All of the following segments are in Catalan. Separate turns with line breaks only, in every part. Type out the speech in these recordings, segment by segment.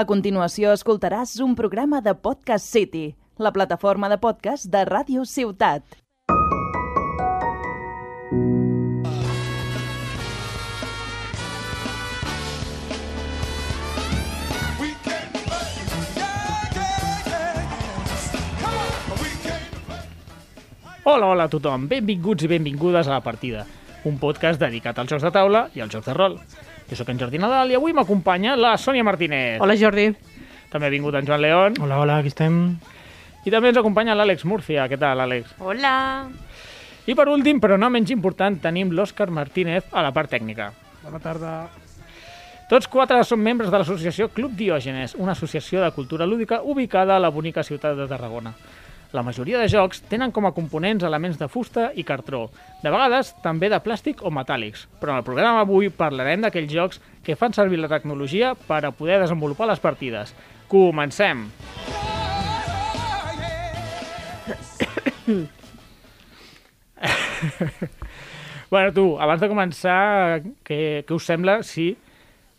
A continuació escoltaràs un programa de Podcast City, la plataforma de podcast de Ràdio Ciutat.
Hola, hola a tothom. Benvinguts i benvingudes a La Partida, un podcast dedicat als jocs de taula i als jocs de rol. Jo sóc en Jordi Nadal i avui m'acompanya la Sònia Martínez.
Hola, Jordi.
També ha vingut en Joan León
Hola, hola, aquí estem.
i també ens acompanya l'Àlex Murcia. Què tal, Àlex?
Hola.
I per últim, però no menys important, tenim l'Òscar Martínez a la part tècnica.
Bona tarda.
Tots quatre són membres de l'associació Club Diògenes, una associació de cultura lúdica ubicada a la bonica ciutat de Tarragona. La majoria de jocs tenen com a components elements de fusta i cartró, de vegades també de plàstic o metàl·lics, però en el programa avui parlarem d'aquells jocs que fan servir la tecnologia per a poder desenvolupar les partides. Comencem! Bueno, tu, abans de començar, què, què us sembla si,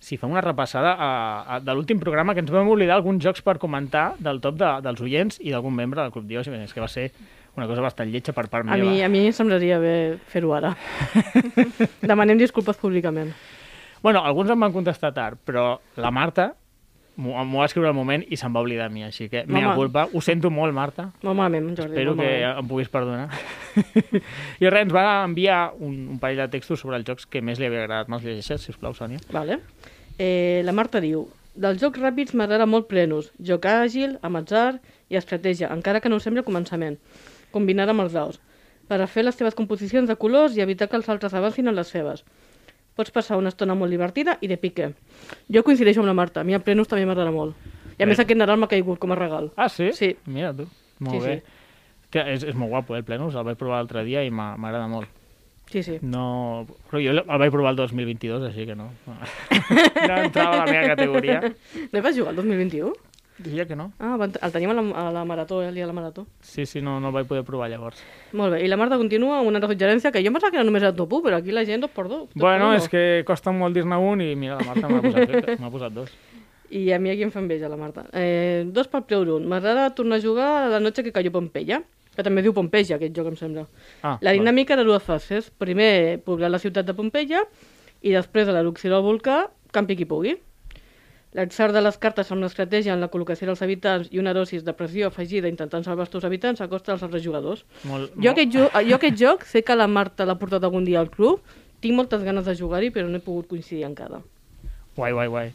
si fem una repassada a, a, de l'últim programa que ens vam oblidar alguns jocs per comentar del top de, dels oients i d'algun membre del Club Diògenes, que va ser una cosa bastant lletja per part
A
meva.
mi, a mi em semblaria bé fer-ho ara. Demanem disculpes públicament.
Bueno, alguns em van contestar tard, però la Marta m'ho m'ho va escriure al moment i se'n va oblidar de mi, així que mea
Home.
culpa. Ho sento molt, Marta.
Molt malament, Jordi.
Espero
molt
que
malament.
em puguis perdonar. I res, ens va enviar un, un parell de textos sobre els jocs que més li havia agradat. Me'ls llegeixes, sisplau, Sònia?
Vale. Eh, la Marta diu... Dels jocs ràpids m'agrada molt plenus, joc àgil, amb atzar i estratègia, encara que no ho sembli al començament, combinada amb els daus, per a fer les teves composicions de colors i evitar que els altres avancin en les seves. Pots passar una estona molt divertida i de pique. Jo coincideixo amb la Marta, a mi el plenus també m'agrada molt. I a
Bé.
més aquest Nadal m'ha caigut com a regal.
Ah, sí?
Sí.
Mira tu. Molt
Sí,
bé. Que és, és molt guapo, eh, el Plenus. El vaig provar l'altre dia i m'ha- m'agrada molt.
Sí, sí.
No... Però jo el vaig provar el 2022, així que no. No entrava a la meva categoria.
No hi vas jugar el 2021?
Diria que no.
Ah, van, el tenim a la, a la marató, eh, el dia de la marató.
Sí, sí, no, no el vaig poder provar llavors.
Molt bé, i la Marta continua amb una suggerència que jo em pensava que era només a Topu, però aquí la gent dos per dos. dos
Bueno,
per
és que costa molt dir-ne un i mira, la Marta m'ha posat, m'ha posat dos.
I a mi aquí em fa enveja, la Marta. Eh, dos per preu d'un. M'agrada tornar a jugar a la noche que cayó Pompeia, que també diu Pompeja, aquest joc, em sembla.
Ah,
la dinàmica era dues fases. Primer, poblar la ciutat de Pompeia i després de l'erupció del volcà, campi qui pugui. L'atzar de les cartes amb una estratègia en la col·locació dels habitants i una dosis de pressió afegida intentant salvar els teus habitants a costa dels altres jugadors.
Molt,
Jo aquest, jo, eh, jo aquest joc sé que la Marta l'ha portat algun dia al club, tinc moltes ganes de jugar-hi, però no he pogut coincidir encara.
Guai, guai, guai.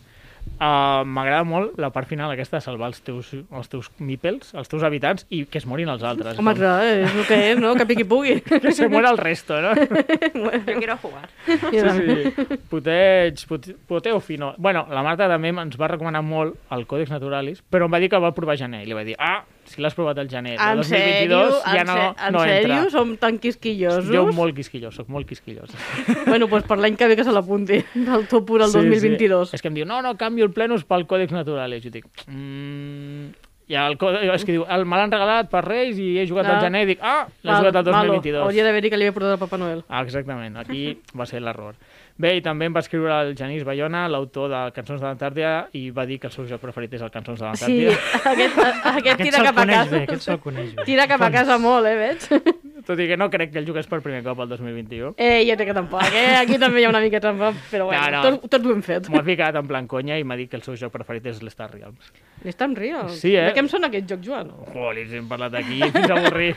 Uh, M'agrada molt la part final aquesta de salvar els teus, els teus mipels, els teus habitants, i que es morin els altres.
Home,
Com-
clar, eh, és el que és, no? Que piqui pugui.
que se muera el resto, no?
Yo quiero jugar.
I tant.
sí, sí. Poteig, pot, poteo fino. Bueno, la Marta també ens va recomanar molt el Còdex Naturalis, però em va dir que el va provar a gener. I li vaig dir, ah, si l'has provat al gener
En
del 2022
sèrio?
ja
en
no,
sé- en
no
sèrio?
entra.
Som tan quisquillosos?
Jo molt quisquillós, soc molt quisquillós.
Bueno, doncs per l'any que ve que se l'apunti, del topur al 2022.
Sí. És que em diu, no, no, canvio el plenus pel Còdex Naturalis. Jo dic, mmm... I el còdex, és que diu, el me l'han regalat per Reis i he jugat
Ah.
al gener. I dic, ah, l'he jugat al 2022.
Malo. Hauria d'haver dit que li havia portat el Papa Noel.
Ah, exactament, aquí va ser l'error. Bé, i també em va escriure el Genís Bayona, l'autor de Cançons de l'Antàrtida, i va dir que el seu joc preferit és el Cançons de
Sí,
l'Antàrtida.
aquest, aquest tira
se'l
cap a
coneix
casa.
bé, aquest se'l coneix bé.
Tira cap a casa molt, eh, veig?
Sí. Doncs, Tot i que no crec que el jugués per primer cop el 2021.
Eh, jo crec que tampoc, eh? Aquí també hi ha una mica de trampa, però bueno,
No,
no,
no.
no. Tots, tots ho hem fet.
M'ho ha ficat en plan conya i m'ha dit que el seu joc preferit és l'Star Realms.
L'Stam Real.
Sí, eh?
De què em sona aquest joc, Joan?
Joli, si hem parlat aquí fins a avorrir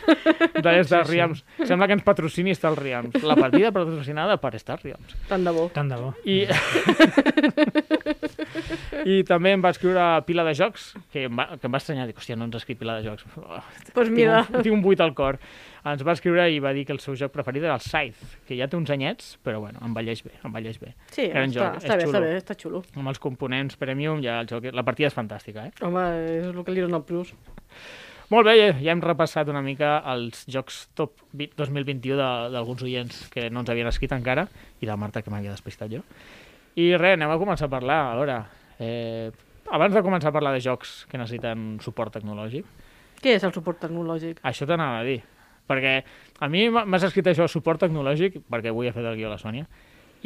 de l'Star Realms. Sembla que ens patrocini Star Realms. La partida patrocinada per Star Realms.
Tant de bo.
Tant de bo.
I... I també em va escriure Pila de Jocs, que em va, que em va estranyar. Dic, hòstia, no ens ha escrit Pila de Jocs. Doncs
Pues mira.
Tinc un, tinc un buit al cor. Ens va escriure i va dir que el seu joc preferit era el Scythe, que ja té uns anyets, però bueno, envelleix bé, envelleix bé.
Sí,
Gran
està,
joc,
està
és
bé,
xulo.
està bé, està xulo.
Amb els components premium, ja el joc... La partida és fantàstica, eh?
Home, és el que li dona el plus.
Molt bé, ja, ja hem repassat una mica els jocs top vi- 2021 de- d'alguns oients que no ens havien escrit encara, i la Marta, que m'havia despistat jo. I res, anem a començar a parlar, a veure... Eh, abans de començar a parlar de jocs que necessiten suport tecnològic,
Què és el suport tecnològic?
Això t'anava a dir. Perquè a mi m'ha- m'has escrit això, suport tecnològic, perquè avui ha fet el guió la Sònia,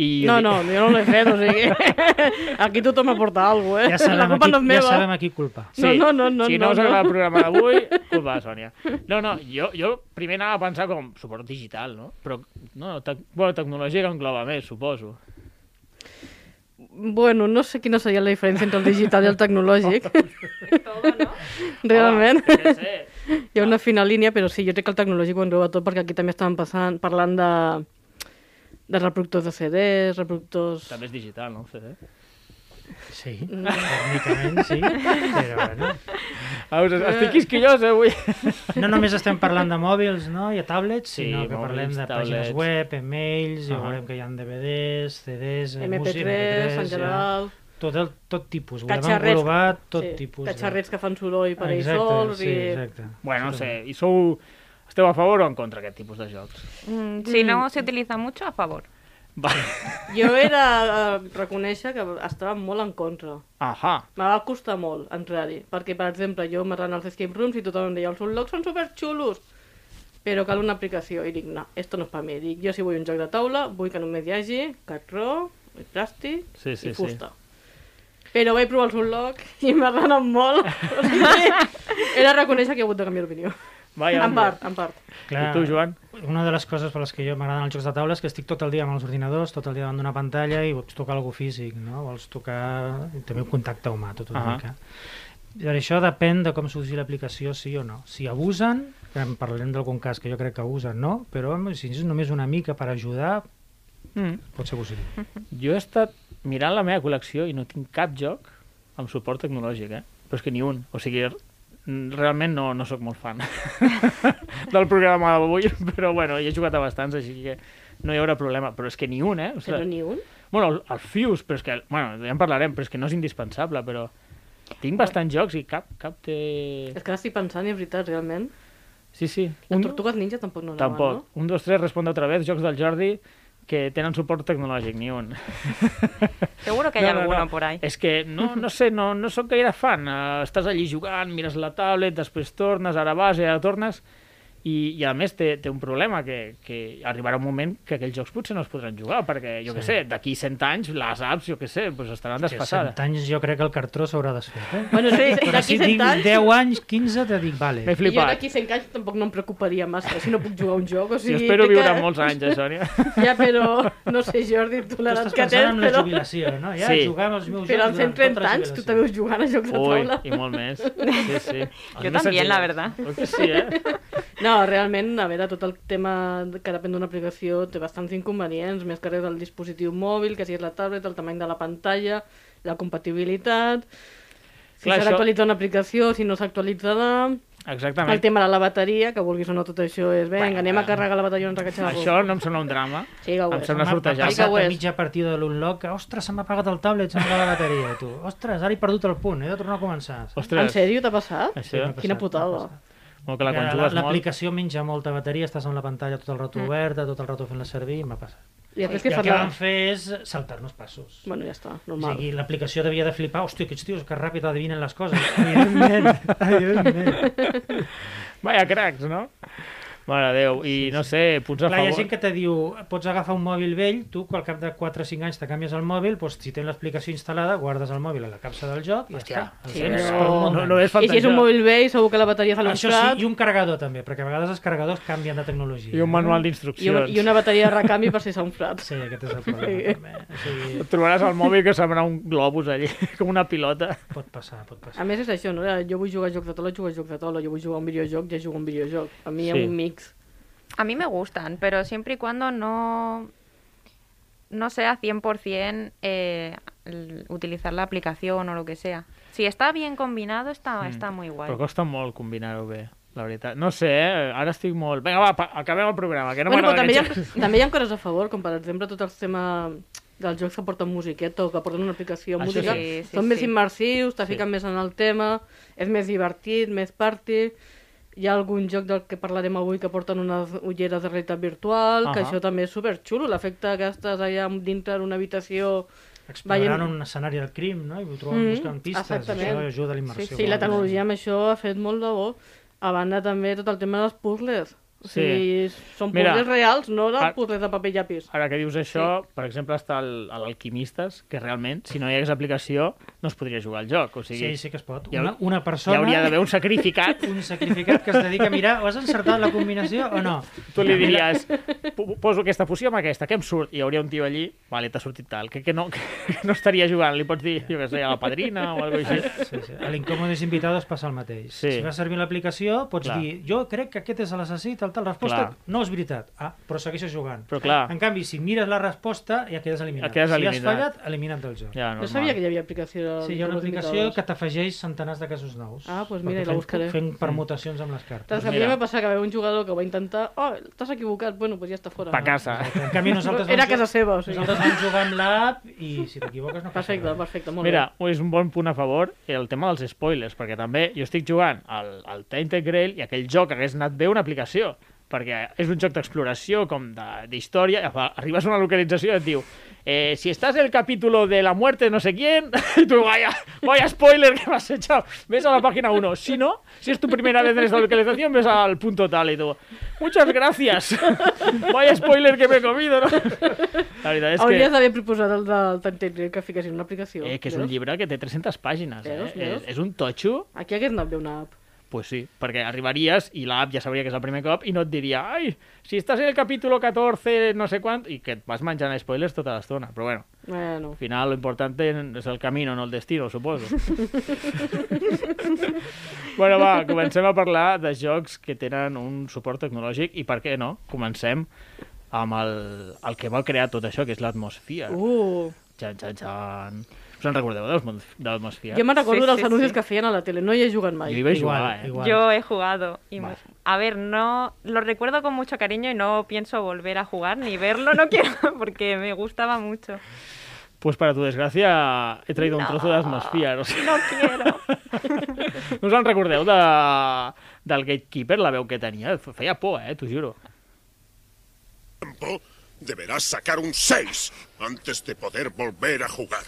I
No, no, jo no l'he fet, o sigui... Aquí tothom aporta alguna cosa, eh?
Ja sabem,
la culpa
a
no
qui,
és meva.
ja sabem a qui culpa.
Sí,
No, no, no, no,
Si no, us
no.
agrada el programa d'avui, culpa de Sònia. No, no, jo, jo primer anava a pensar com suport digital, no? Però, no, tec bueno, tecnologia que engloba més, suposo.
Bueno, no sé quina seria la diferència entre el digital i el tecnològic. Realment.
Home, què sé.
Hi ha una fina línia, però sí, jo crec que el tecnològic ho engloba tot perquè aquí també estàvem passant, parlant de, de reproductors de CDs, reproductors...
També és digital, no? eh? CD.
Sí,
Mm.
tècnicament sí, però bueno.
Ah, us, estic quisquillós, eh, avui.
No només estem parlant de mòbils no? i de tablets,
Sí,
sinó que
mòbils,
parlem de
tablets.
pàgines web, emails, ja
Ahà.
veurem que hi ha DVDs, CDs, eh,
MP3,
música,
en
ja.
general...
tot, el, tot tipus, volem
Catxarrets.
englobar tot tipus. de- Ah,
Catxarrets que fan soroll per ells
exacte,
sols
sí,
i...
exacte.
Bueno, no sé, i sou... Esteu a favor o en contra d'aquest tipus de jocs?
Mm, Si no se utiliza mucho, a favor.
Va.
Jo he de eh, reconèixer que estava molt en contra.
Ahà.
Me va costar molt entrar-hi, perquè, per exemple, jo m'arran als escape rooms i tothom em deia els unlocks són superxulos, però cal una aplicació. I dic, no, esto no és per mi. Dic, jo si vull un joc de taula, vull que només hi hagi cartró, plàstic
Sí, sí,
i
sí.
fusta. Però vaig provar els unlocks i m'arranen molt. O sigui, he de reconèixer que he hagut de canviar d'opinió.
Vaja,
En part, en part.
I tu, Joan?
Una de les coses per les que jo m'agraden els jocs de taula és que estic tot el dia amb els ordinadors, tot el dia davant d'una pantalla i vols tocar algú físic, no? Vols tocar també un contacte humà, tot una
Ahà.
uh -huh. mica. Per això depèn de com s'usi l'aplicació, sí o no. Si abusen, que en parlarem d'algun cas que jo crec que abusen, no? Però home, si és només una mica per ajudar,
Mm.
pot ser possible.
Jo he estat mirant la meva col·lecció i no tinc cap joc amb suport tecnològic, eh? Però és que ni un. O sigui, r- realment no, no sóc molt fan del programa d'avui, però bueno, hi he jugat a bastants, així que no hi haurà problema. Però és que ni un, eh? O
Però
sigui,
ni un.
bueno, el, el Fuse, però és que... Bueno, ja en parlarem, però és que no és indispensable, però... Tinc bastants jocs i cap, cap té...
És que ara estic pensant i és veritat, realment.
Sí, sí.
Les tortugues ninja tampoc no anaven,
Tampoc. Un, dos, tres, responde otra vez. Jocs del Jordi que tenen suport tecnològic, ni un.
Seguro que hay alguno por ahí.
És que no, no sé, no, no sóc gaire fan. Eh, estàs allí jugant, mires la tablet, després tornes, ara vas i ara tornes. I, i a més té, té un problema, que, que arribarà un moment que aquells jocs potser no es podran jugar, perquè, jo sí. què sé, d'aquí 100 anys les apps, jo què sé, doncs estaran
Que
desfassades.
100 anys jo crec que el cartró s'haurà desfet, eh?
no? Bueno, sí, sí,
Però
d'aquí
si
100
tinc
anys...
10 anys, 15, te dic,
M'he
vale.
I Jo
flipat.
d'aquí 100 anys tampoc no em preocuparia massa si no puc jugar a un joc. O
Sí,
sigui,
espero
crec
viure
que...
molts anys, eh, Sònia.
Ja, però no sé, Jordi, tu
Tu
l'edat
estàs
que
pensant
tens,
en la
però,
jubilació, no? Ja,
Sí.
jugar amb els meus
però als
jocs durant
130
tota la
anys tu
jubilació.
també jugant a jocs de
Ui,
taula.
i molt més. Sí, sí. Els més
también,
senzills.
la verdad.
Oi que sí, eh?
No, realment, a veure, tot el tema que depèn d'una aplicació té bastants inconvenients, més que res del dispositiu mòbil, que si és la tablet, el tamany de la pantalla, la compatibilitat... Si
Clar,
s'ha
això-
d'actualitzar una aplicació, si no s'actualitzarà...
Exactament.
El tema de la bateria, que vulguis o no tot això és... Vinga,
Bueno,
anem a
bueno.
carregar la bateria una recatxa de
Això no em sembla un drama.
Sí, que ho
em
és.
sembla
M'ha-
sortejat.
M'ha
Sí que ho
passat a
és.
mitja partida de l'Unlock. Ostres, se m'ha apagat el tablet, se m'ha acabat la bateria, tu. Ostres, ara he perdut el punt, he de tornar a començar.
Ostres,
En sèrio, t'ha passat?
Això.
m'ha passat,
Quina
m'ha
putada.
passat.
molt clar, quan
Ara,
jugues molt...
L'aplicació menja molta bateria, estàs amb la pantalla tot el rato oberta, tot el rato fent-la servir, i m'ha passat.
I després
I
que
el que
parlar...
vam fer és saltar-nos passos.
Bueno, ja està,
O
normal.
sigui, l'aplicació devia de flipar, hòstia, aquests tios que ràpid adivinen les coses. Evidentment, evidentment.
Vaya cracs, no? Mare de Déu, i no sé, punts a
Clar, hi ha
favor...
gent que te diu, pots agafar un mòbil vell, tu al cap de 4 o 5 anys te canvies el mòbil, doncs, si tens l'aplicació instal·lada, guardes el mòbil a la capsa del joc i ja està.
Sí,
El tens
no,
per un
no,
munt
no,
d'anys.
no és
I si és
fantasia.
un mòbil vell, segur que la bateria fa
Això sí,
l'obstat.
i un carregador també, perquè a vegades els carregadors canvien de tecnologia. eh?
I un manual
I, un,
d'instruccions.
I una bateria de recanvi per si s'ha unflat.
Sí, aquest és el problema
Sí.
també. eh? O sigui,
Et trobaràs al mòbil que semblarà un globus allí, com una pilota.
pot passar, pot
A
passar.
més és això, no? jo vull jugar a jocs de taula, jugo a jocs de taula, jo vull jugar a un videojoc, ja jugo a un videojoc. A mi hi ha
Sí.
un mix.
A mí me gustan, pero siempre y cuando no, no sea 100% eh, l- utilizar la aplicación o lo que sea. Si está bien combinado,
Hmm.
está, está muy guay.
Però costa molt combinar-ho bé, la veritat. No sé, eh? ara estic molt... Vinga, va, pa, acabem el programa, que no
bueno, però
m'agrada
també hi,
aquest
ha, també hi ha coses a favor, com per exemple tot el tema dels jocs que porten musiqueta o que porten una aplicació
Això
amb música,
sí. Sí, sí,
són més
sí.
immersius, te
Sí.
fiquen més en el tema, és més divertit, més party... Hi ha algun joc del que parlarem avui que porten unes ulleres de realitat virtual, que
Ahà.
això també és superxulo, l'efecte que estàs allà dintre d'una habitació...
Exploraran
veient-
un escenari del crim, no? I ho troben
Mhm,
buscant pistes,
exactament.
això ajuda a la immersió.
Sí, la tecnologia amb això ha fet molt de bo. A banda també tot el tema dels puzzles. O
Sí.
sigui, són
Mira,
puzzles reals, no de
a-
puzzles de paper i llapis.
Ara que dius això, per exemple, està el- a l'Alquimistes, que realment, si no hi hagués aplicació, no es podria jugar al joc. O sigui,
Sí, sí que es pot.
Hi ha-
Una, una
hi
persona...
hauria d'haver un sacrificat.
un sacrificat que es dedica a mirar, has encertat la combinació o no?
Tu li diries, "Po- poso aquesta poció amb aquesta, què em surt? I hi hauria un tio allí, vale, t'ha sortit tal, que, que, no, que no estaria jugant. Li pots dir, jo què sé, a la padrina o alguna cosa així.
Sí, sí. A l'incòmodes invitados passa el mateix.
Sí.
Si vas servir l'aplicació, pots
Clar.
dir jo crec que aquest és l'assassí, tal, tal. Resposta,
Clar.
no és veritat. Ah, però segueixes jugant.
Però clar,
En canvi, si mires la resposta, ja quedes eliminat.
Ja quedes
Si has
eliminat.
fallat, eliminat del joc.
ja, normal.
No sabia que hi havia aplicació.
Sí, hi ha una
dels
aplicació
indicadors.
que t'afegeix centenars de casos nous.
Ah, doncs mira,
Perquè
i la
fent-
buscaré.
Fent permutacions amb les cartes.
Doncs a mi
Mira.
em va passar que va haver un jugador que ho va intentar... Oh, t'has equivocat. Bueno, doncs ja està fora.
Pa casa.
En canvi, nosaltres...
Era
vam-
casa seva, o sigui.
Nosaltres vam jugar amb l'app i si t'equivoques no passa
Perfecte,
res.
perfecte, molt
Mira, és un bon punt a favor el tema dels spoilers, perquè també jo estic jugant al, al Tainted Grail i aquell joc hagués anat bé una aplicació, perquè és un joc d'exploració, com de- d'història, i a- arribes a una localització i et diu eh, si estàs en el capítulo de la muerte de no sé quién, y tú, vaya, vaya spoiler que me has echado, ves a la página 1. Si no, si es tu primera vez en esta localización, ves al punto tal y tú, muchas gracias, vaya spoiler que me he comido, ¿no? La veritat
bé.
és que...
Hauries d'haver proposat el del Tantail que fiquessin una aplicació.
Eh, que és un
veus?
llibre que té 300 pàgines. Eh?
Veus,
És,
veus?
és un totxo,
Aquí hagués anat bé una app.
pues sí, perquè arribaries i l'app ja sabria que és el primer cop i no et diria ai, si estàs en el capítol 14 no sé quant, i que et vas menjant spoilers tota l'estona. Però bueno,
Bueno,
al final lo importante es el camino, no el destino, suposo. bueno, va, comencem a parlar de jocs que tenen un suport tecnològic i per què no? Comencem amb el, el que va crear tot això, que és l'atmosfera. Uh.
Uh,
Jan, jan, jan. Us en recordeu dels- de l'atmosfera?
jo me'n recordo
Sí,
dels
sí,
anuncis
sí.
que feien a la tele, no hi he jugat mai.
Jo hi vaig
Igual,
jugar, eh?
igual.
Yo he jugado. Y
Vale.
mu- A ver, no lo recuerdo con mucho cariño y no pienso volver a jugar ni verlo, no quiero, porque me gustaba mucho.
Pues para tu desgracia he traído un trozo de Atmosphere. O sigui,
No quiero.
no us en recordeu de... del Gatekeeper, la veu que tenia? F- Feia por, eh? T'ho juro.
tiempo, deberás sacar un 6 antes de poder volver a jugar.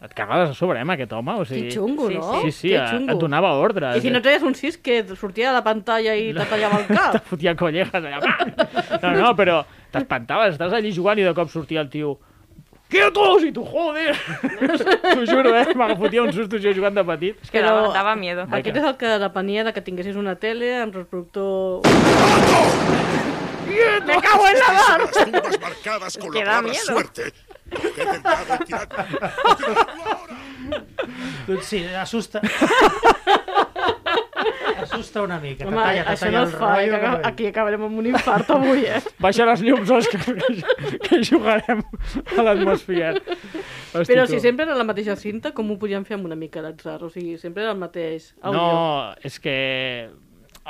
Et cagaves a sobre, eh, amb aquest home? O sigui...
Que xungo,
Sí,
no?
Sí, sí,
que
et,
xungo.
et donava ordres. eh.
I si no traies un 6 que et sortia de la pantalla i te tallava el
Te
cap?
fotia collejas allà. pa! No, no, però t'espantaves. Estàs allí jugant i de cop sortia el tio... ¡Quietos! I tu, joder! T'ho juro, eh? Me fotia un susto jo jugant de petit.
Es que
Pero-
daba, daba miedo.
Ay,
Aquest
que-
és el que depenia de que tinguessis una tele amb reproductor...
Me cago en la mar!
Las tumbas marcadas con
Que
la
da
palabra
miedo.
suerte. Coged el dado y tirad. ¡Tiradlo ahora!
Doncs sí, assusta. assusta una mica.
Home, això no es fa, eh, que acaba- aquí acabarem amb un infart avui, eh?
Baixa les llums, Òscar, que, que jugarem a l'atmosfera.
Però si sempre era la mateixa cinta, com ho podíem fer amb una mica d'atzar? O sigui, sempre era el mateix àudio.
No, és que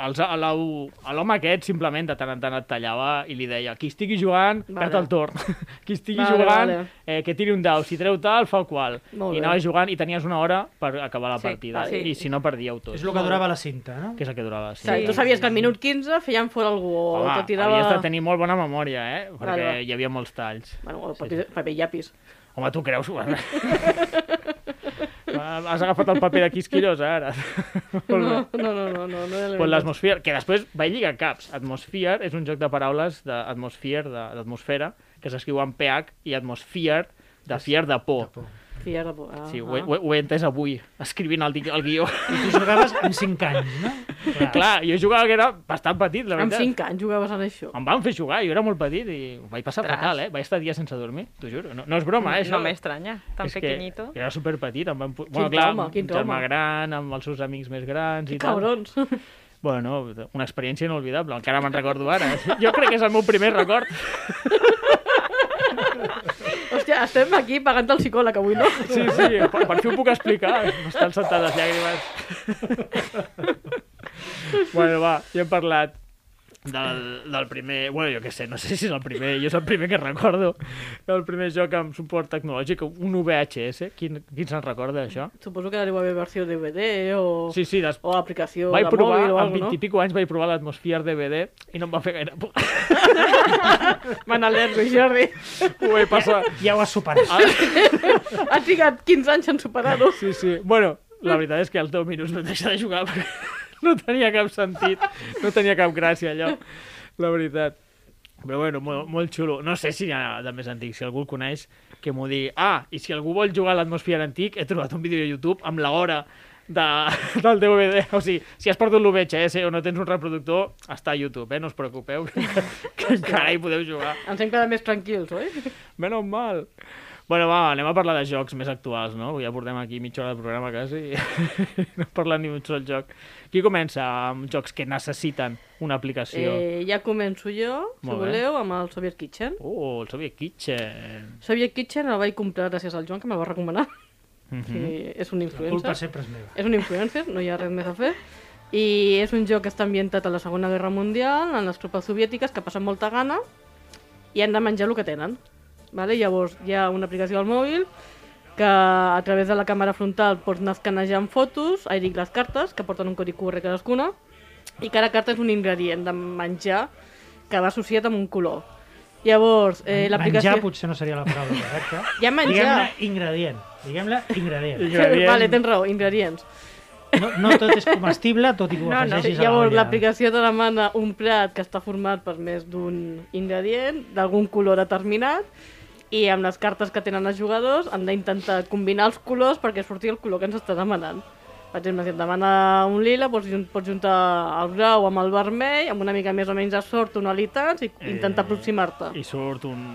els, a l'au- a l'home aquest simplement de tant en tant et tallava i li deia qui estigui jugant,
Vale.
vale. perd el torn. Qui estigui
Vale,
jugant,
vale.
Eh, que tiri un dau. Si treu tal, fa qual.
Molt
I
bé.
anaves jugant i tenies una hora per acabar la
Sí,
partida.
vale.
I si no, perdíeu tot.
És el que durava la cinta, no?
Que és el que durava. Sí.
O sigui, tu sabies que al minut 15 feien fora algú o
Home,
te tirava...
havies de tenir molt bona memòria, eh? Perquè
Vale.
hi havia molts talls.
Bueno, o paper, paper i llapis.
Home, tu creus? Has agafat el paper de Quisquirós, ara. Molt bé.
No, no, no, no, no, no era
Pues
veritat.
l'atmosfera, que després va lligar caps. Atmosphere és un joc de paraules d'atmosfera, de- d'atmosfera, que s'escriu amb PH, i atmosphere, de fier de por.
Fia de por. Ah,
Sí,
ah.
ho, he, ho he- ho he entès avui, escrivint el, di- el guió.
I tu jugaves amb 5 anys, no?
Clar, jo jugava que era bastant petit, la
Amb
veritat.
5 anys jugaves en això.
Em van fer jugar, jo era molt petit i ho vaig passar
Ostres.
fatal, eh? Vaig estar dies sense dormir, t'ho juro. No, no és broma, eh?
No
això.
me extraña, tan
És que-
pequeñito.
Que, era superpetit, em van... pu- Bueno, clar,
trauma,
amb
quin
un germà
trauma.
gran, amb els seus amics més grans i tal.
Cabrons.
Bueno, una experiència inolvidable, encara me'n recordo ara. Jo crec que és el meu primer record.
Hòstia, estem aquí pagant el psicòleg avui, no?
Sí, sí, per, per fi ho puc explicar. M'estan saltant les llàgrimes. bueno, va, ja hem parlat del, del primer... Bueno, jo què sé, no sé si és el primer, jo és el primer que recordo. El primer joc amb suport tecnològic, un VHS. Quin, qui se'n recorda d'això?
Suposo que deu haver versió DVD o,
Sí, sí, des...
o aplicació
vaig
de
provar,
mòbil o
amb
alguna
20 i
cosa,
pico anys vaig provar l'atmosfera DVD i no em va fer gaire por.
no? Me n'alergo, Jordi.
Ho he passat,
Ja ho has superat.
Ah,
Has trigat 15 anys en superar-ho.
Sí, sí. Bueno, la veritat és que als 10 minuts no et deixa de jugar perquè no tenia cap sentit, no tenia cap gràcia allò. la veritat. Però bueno, molt, molt xulo. No sé si hi ha de més antic, si algú el coneix, que m'ho digui. Ah, i si algú vol jugar a l'atmosfera antic, he trobat un vídeo a YouTube amb la hora de, del DVD. O sigui, si has perdut l'UVHS o no tens un reproductor, està a YouTube, eh? No us preocupeu, que, que encara hi podeu jugar.
Ens hem quedat més tranquils, oi?
Menos mal. Bueno, va, anem a parlar de jocs més actuals, no? Ja portem aquí mitja hora de programa, quasi. no parlant ni un sol joc. Qui comença amb jocs que necessiten una aplicació? Eh...
Eh, ja començo jo, si
Molt bé.
voleu, amb el Soviet Kitchen.
Oh, el Soviet Kitchen.
Soviet Kitchen el vaig comprar gràcies al Joan, que me'l va recomanar.
Mhm.
que és un
La culpa
influencer.
sempre és meva.
És un influencer, no hi ha res més a fer. I és un joc que està ambientat a la Segona Guerra Mundial, en les tropes soviètiques, que passen molta gana, i han de menjar el que tenen. Vale? Llavors, hi ha una aplicació al mòbil que a través de la càmera frontal pots anar escanejant fotos, a dir les cartes, que porten un codi QR cadascuna, i cada carta és un ingredient de menjar que va associat amb un color. Llavors, eh, l'aplicació...
Menjar potser no seria la paraula correcta.
Hi ha menjar.
Diguem-ne ingredient. Diguem-ne ingredient.
Ingredient.
Vale, tens raó, ingredients.
No, no tot és comestible, tot i que ho
Ah,
No, no.
afegeixis a
Llavors,
la olla.
l'aplicació te demana un plat que està format per més d'un ingredient, d'algun color determinat, i amb les cartes que tenen els jugadors han d'intentar combinar els colors perquè surti el color que ens està demanant. Per exemple, si et demana un lila, doncs jun- pots juntar el blau amb el vermell, amb una mica més o menys de sort, tonalitats, i intentar aproximar-te.
Eh. I surt un,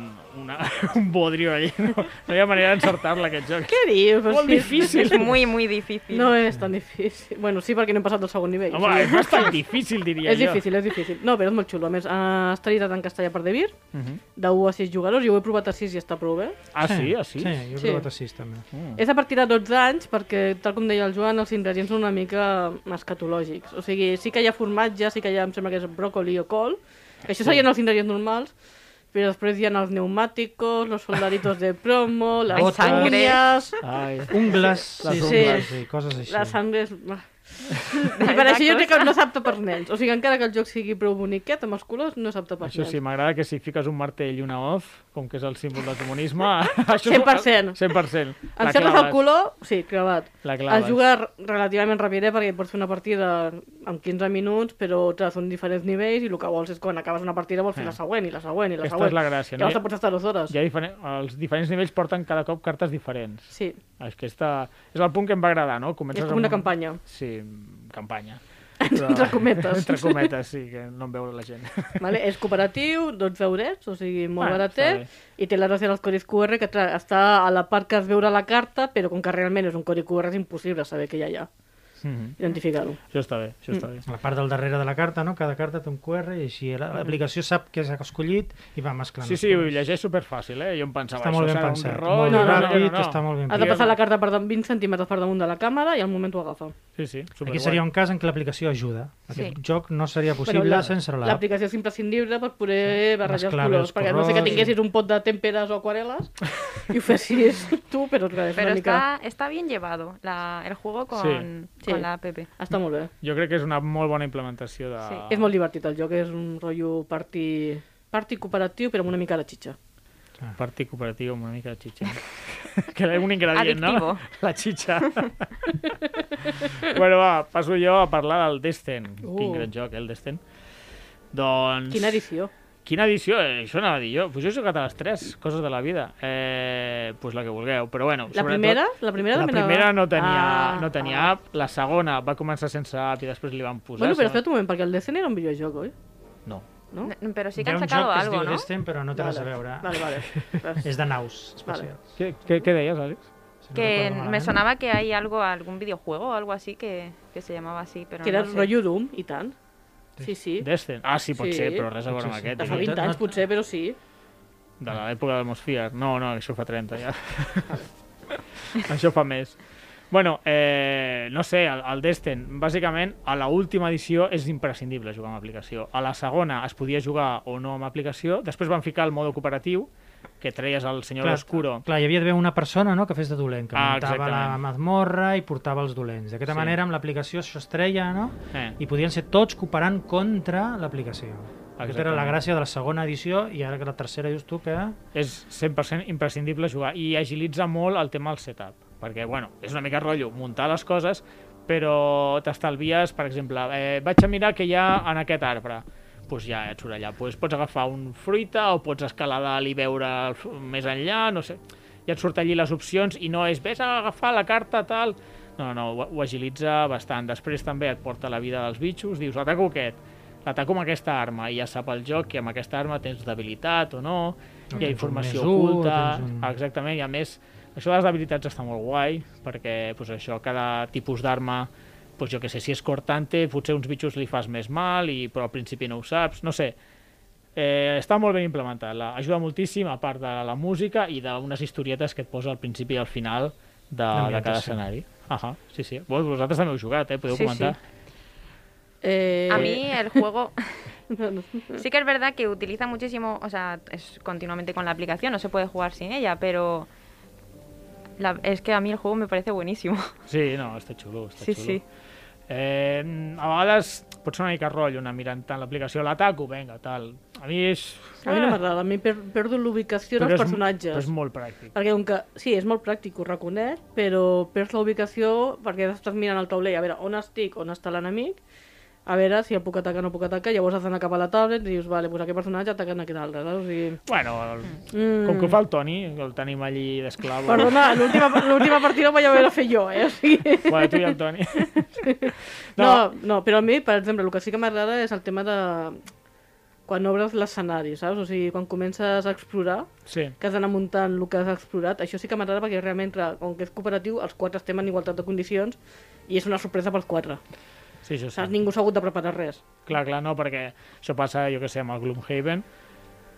una, un bodrio allí. No, no hi ha manera d'encertar-la, aquest joc.
Què dius? Però
Molt
si-
difícil.
Es muy, muy difícil.
No és tan difícil. Bueno, sí, perquè no hem passat del segon nivell.
Home, és bastant difícil, diria
És
jo.
difícil, és difícil. No, però és molt xulo. A més, eh, està editat en castellà per Devir, uh
Mhm.
-huh. de 1 a 6 jugadors. Jo ho he provat a 6 i està prou bé.
Ah, sí? Ah, sí?
Sí, jo he
Sí.
provat a sis, també.
Mm.
És a partir de 12 anys, perquè, tal com deia el Joan, els ingredients són una mica escatològics. O sigui, sí que hi ha formatge, sí que hi ha, em sembla que és bròcoli o col, que això serien els ingredients normals, però després hi ha els pneumàticos, los soldaditos de promo, les
Ai, sangre.
uñas...
Ai.
Ungles,
Les
sí, sí,
ungles.
sí, coses així.
La sangre és... ah. I per això jo crec que no és apte per nens. O sigui, encara que el joc sigui prou boniquet, amb els colors, no és apte per
Això
nens.
sí, m'agrada que si fiques un martell i una hoz, com que és el símbol del comunisme... Això
100%.
100%. La
Encertes el
claves.
color, sí, clavat.
La claves.
Es juga r- relativament ràpid, eh, perquè pots fer una partida en 15 minuts, però clar, són diferents nivells i el que vols és quan acabes una partida vols fer la següent i la següent i la
Aquesta
següent.
és Ah. la gràcia, no?
Llavors te pots estar dues hores.
Hi ha diferent... Els diferents nivells porten cada cop cartes diferents. Ah,
Sí,
És que esta... és el punt que em va agradar, no?
és
Comences
com una campanya.
Sí, campanya.
Entre cometes.
Entre cometes, sí, que no em veu la gent.
Vale? És cooperatiu, 12 eurets, o sigui, molt
Bueno,
baratet,
Ah, està
i té la gràcia dels codis QR, que tra- està a la part que es veure a la carta, però com que realment és un codi QR és impossible saber què hi ha allà,
Mhm.
identificar-ho.
Això està bé, això està bé.
Mm.
A la part del darrere de la carta, no? Cada carta té un QR i així la- l'aplicació sap què s'ha escollit i va mesclant.
Sí,
els
sí, ho
colors.
llegeix superfàcil, eh? Jo em pensava,
Està molt
això
ben
serà
pensat,
un rotllo...
molt
no, no,
ràpid,
no, no.
està molt ben
Has de passar la carta per damunt 20 centímetres per damunt de la càmera i al moment ho agafa.
Sí, sí, superguai.
Aquí seria un cas en què l'aplicació ajuda. Aquest
Sí.
joc no seria possible
Bueno, la-
sense l'app.
L'aplicació és imprescindible per doncs poder barrejar els
mesclar bé
colors,
els
perquè no sé que
colors.
tinguessis un pot de temperes o aquarel·les i ho fessis tu, però clar, és
Pero
una mica...
está, está bien llevado la- el juego con,
Sí.
con
Sí.
la app.
Està molt bé.
Jo crec que és una molt bona implementació de...
Sí,
És molt divertit el joc, és un rotllo party, party cooperatiu, però amb una mica la xitxa.
Parti cooperatiu amb una mica de xitxa. eh? que era un ingredient, no?
Adictivo.
La xitxa. bueno, va, passo jo a parlar del Destin.
Uh.
Quin gran joc, eh, el Destin. Doncs...
Quina edició.
Quina edició? Eh, això anava a dir jo. Pues jo he jugat a les tres, coses de la vida. Eh, pues la que vulgueu, però bueno.
La
sobretot-
primera? La primera,
La
també anava-
primera no tenia,
Ah,
no tenia app. La segona va començar sense app i després li van posar...
Bueno, però
sembla-
espera't un moment, perquè el Destiny era un videojoc, oi?
No.
no?
N- Pero sí
Hi
que
ha
han
un
sacado
joc que es
algo,
diu
¿no?
Destin, però no té res a
Vale.
veure.
Vale, vale.
És de naus especials.
Què, què, què deies, Àlex?
si no ¿eh?
Que
recordo
me
malament.
sonaba que hay algo, algún videojuego o algo así que, que se llamaba así, pero
que era
no sé.
rotllo Doom, i tant. Sí, sí.
Destin. Ah, sí, pot
Sí.
ser, però res a veure amb
Potser sí.
aquest.
De
eh?
fa 20 anys, potser, però sí.
De l'època del Mosfier. No, no, això fa 30 ja. això fa més. Bueno, eh, no sé, el, el Destin, bàsicament, a la última edició és imprescindible jugar amb aplicació. A la segona es podia jugar o no amb aplicació. Després van ficar el modo cooperatiu, que treies el senyor
Clar,
Oscuro.
Clar, hi havia d'haver una persona no, que fes de dolent, que
Ah,
muntava la
exactament.
mazmorra i portava els dolents. D'aquesta
Sí.
manera, amb l'aplicació això es treia, no?
Eh.
I podien ser tots cooperant contra l'aplicació. Aquesta era la
Exactament.
gràcia de la segona edició i ara que la tercera dius tu que...
és 100% imprescindible jugar i agilitza molt el tema del setup perquè, bueno, és una mica rotllo muntar les coses però t'estalvies, per exemple eh, vaig a mirar que hi ha en aquest arbre pues ja et surt allà. Pues pots agafar un fruita o pots escalar dalt i veure el f- més enllà, no sé. Ja et surt allí les opcions i no és ves a agafar la carta tal. No, no, ho, ho agilitza bastant. Després també et porta la vida dels bitxos, dius ataco aquest, l'ataco amb aquesta arma i ja sap el joc que amb aquesta arma tens debilitat o no, hi
O
ha
tens un
informació
més u, o
oculta...
tens un-
Ah, Exactament, i a més, això de les habilitats està molt guai, perquè pues, això, cada tipus d'arma, pues, jo que sé, si és cortante, potser uns bitxos li fas més mal, i, però al principi no ho saps, no sé. Eh, està molt ben implementat, la, ajuda moltíssim, a part de la música i d'unes historietes que et posa al principi i al final de, de cada
L'ambientació.
escenari. Ahà, sí, sí. Vos, vosaltres també heu jugat, eh? Podeu
Sí, sí.
comentar.
Eh,
A mí el juego
no, no.
sí que es verdad que utiliza muchísimo, o sea, es continuamente con la aplicación, no se puede jugar sin ella, pero la- es que a mí el juego me parece buenísimo.
Sí, no, està xulo, està
Sí,
xulo.
sí.
Eh, a vegades pot ser una mica rotllo anar mirant tant l'aplicació, l'ataco, vinga, tal. A mi és...
A mi no
Ah,
m'agrada, a mi per, perdo l'ubicació dels
però és-
personatges.
Però és molt pràctic.
Perquè, com que, sí, és molt pràctic, ho reconec, però perds la ubicació perquè estàs mirant el taulell, a veure on estic, on està l'enemic, a veure si el puc atacar o no puc atacar, llavors has d'anar cap a la tablet i dius, vale, doncs aquest personatge atacant aquest altre, saps? O sigui...
Bueno, el,
Mm.
com que ho fa el Toni, el tenim allí d'esclavo.
Perdona, l'última l'última partida ho vaig haver de fer jo, eh? O sigui...
Bueno, tu i el Toni.
No, no, però a mi, per exemple, el que sí que m'agrada és el tema de quan obres l'escenari, saps? O sigui, quan comences a explorar,
Sí,
que has d'anar muntant el que has explorat. Això sí que m'agrada perquè realment, clar, com que és cooperatiu, els quatre estem en igualtat de condicions i és una sorpresa pels quatre.
sí, això
Saps?
sí.
Ningú s'ha hagut de preparar res.
Clar, clar, no, perquè això passa, jo que sé, amb el Gloomhaven,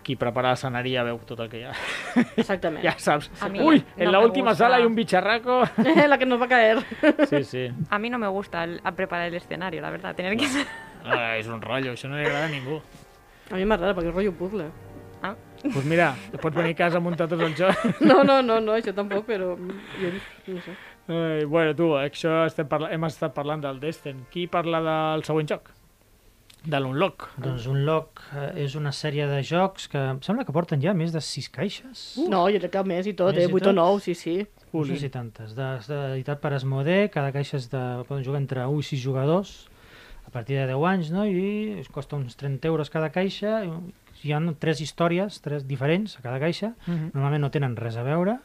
qui prepara l'escenari ja veu tot el que hi ha.
Exactament.
Ja saps.
A mi
Ui, en
no
la
me
última
gusta.
sala hay un bicharraco.
La que nos va a caer.
Sí, sí.
A mí no me gusta el- a preparar el escenario, la verdad, tener que...
Ah, és un rotllo, això no li agrada a ningú.
A mi m'agrada perquè és rotllo puzzle.
Ah,
Doncs pues mira, pots venir a casa a muntar tots els jocs.
No, no, no, no, això tampoc, però... Jo, no sé.
Ai, bueno, tu, això estem parla... hem estat parlant del Destin. Qui parla del següent joc? De l'Unlock.
Doncs un lock eh, és una sèrie de jocs que em sembla que porten ja més de sis caixes.
No, jo crec que més i tot,
Més
eh?
i
8
tot?
o 9, sí, sí.
No sé si tantes. De, de, editat per Esmodé, cada caixa és de, poden jugar entre 1 i 6 jugadors a partir de 10 anys, no? I us costa uns 30 euros cada caixa. i Hi ha tres històries, tres diferents a cada caixa.
Mhm.
Normalment no tenen res a veure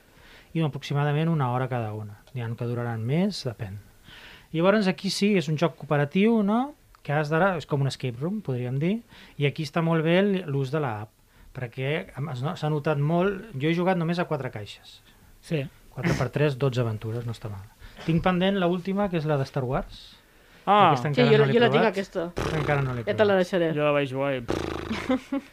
i aproximadament una hora cada una. N'hi ha que duraran més, depèn. Llavors aquí sí, és un joc cooperatiu, no? Que has d'anar, és com un escape room, podríem dir, i aquí està molt bé l- l'ús de l'app, perquè em- es no- s'ha notat molt... Jo he jugat només a quatre caixes,
Sí.
4x3, 12 aventures, no està mal. Tinc pendent la última, que és la de Star Wars.
Ah,
Sí,
Aquesta encara
jo,
no l'he
jo la tinc
provat.
aquesta.
Encara no l'he
Ja te la
provat.
deixaré.
jo la vaig jugar i... pff,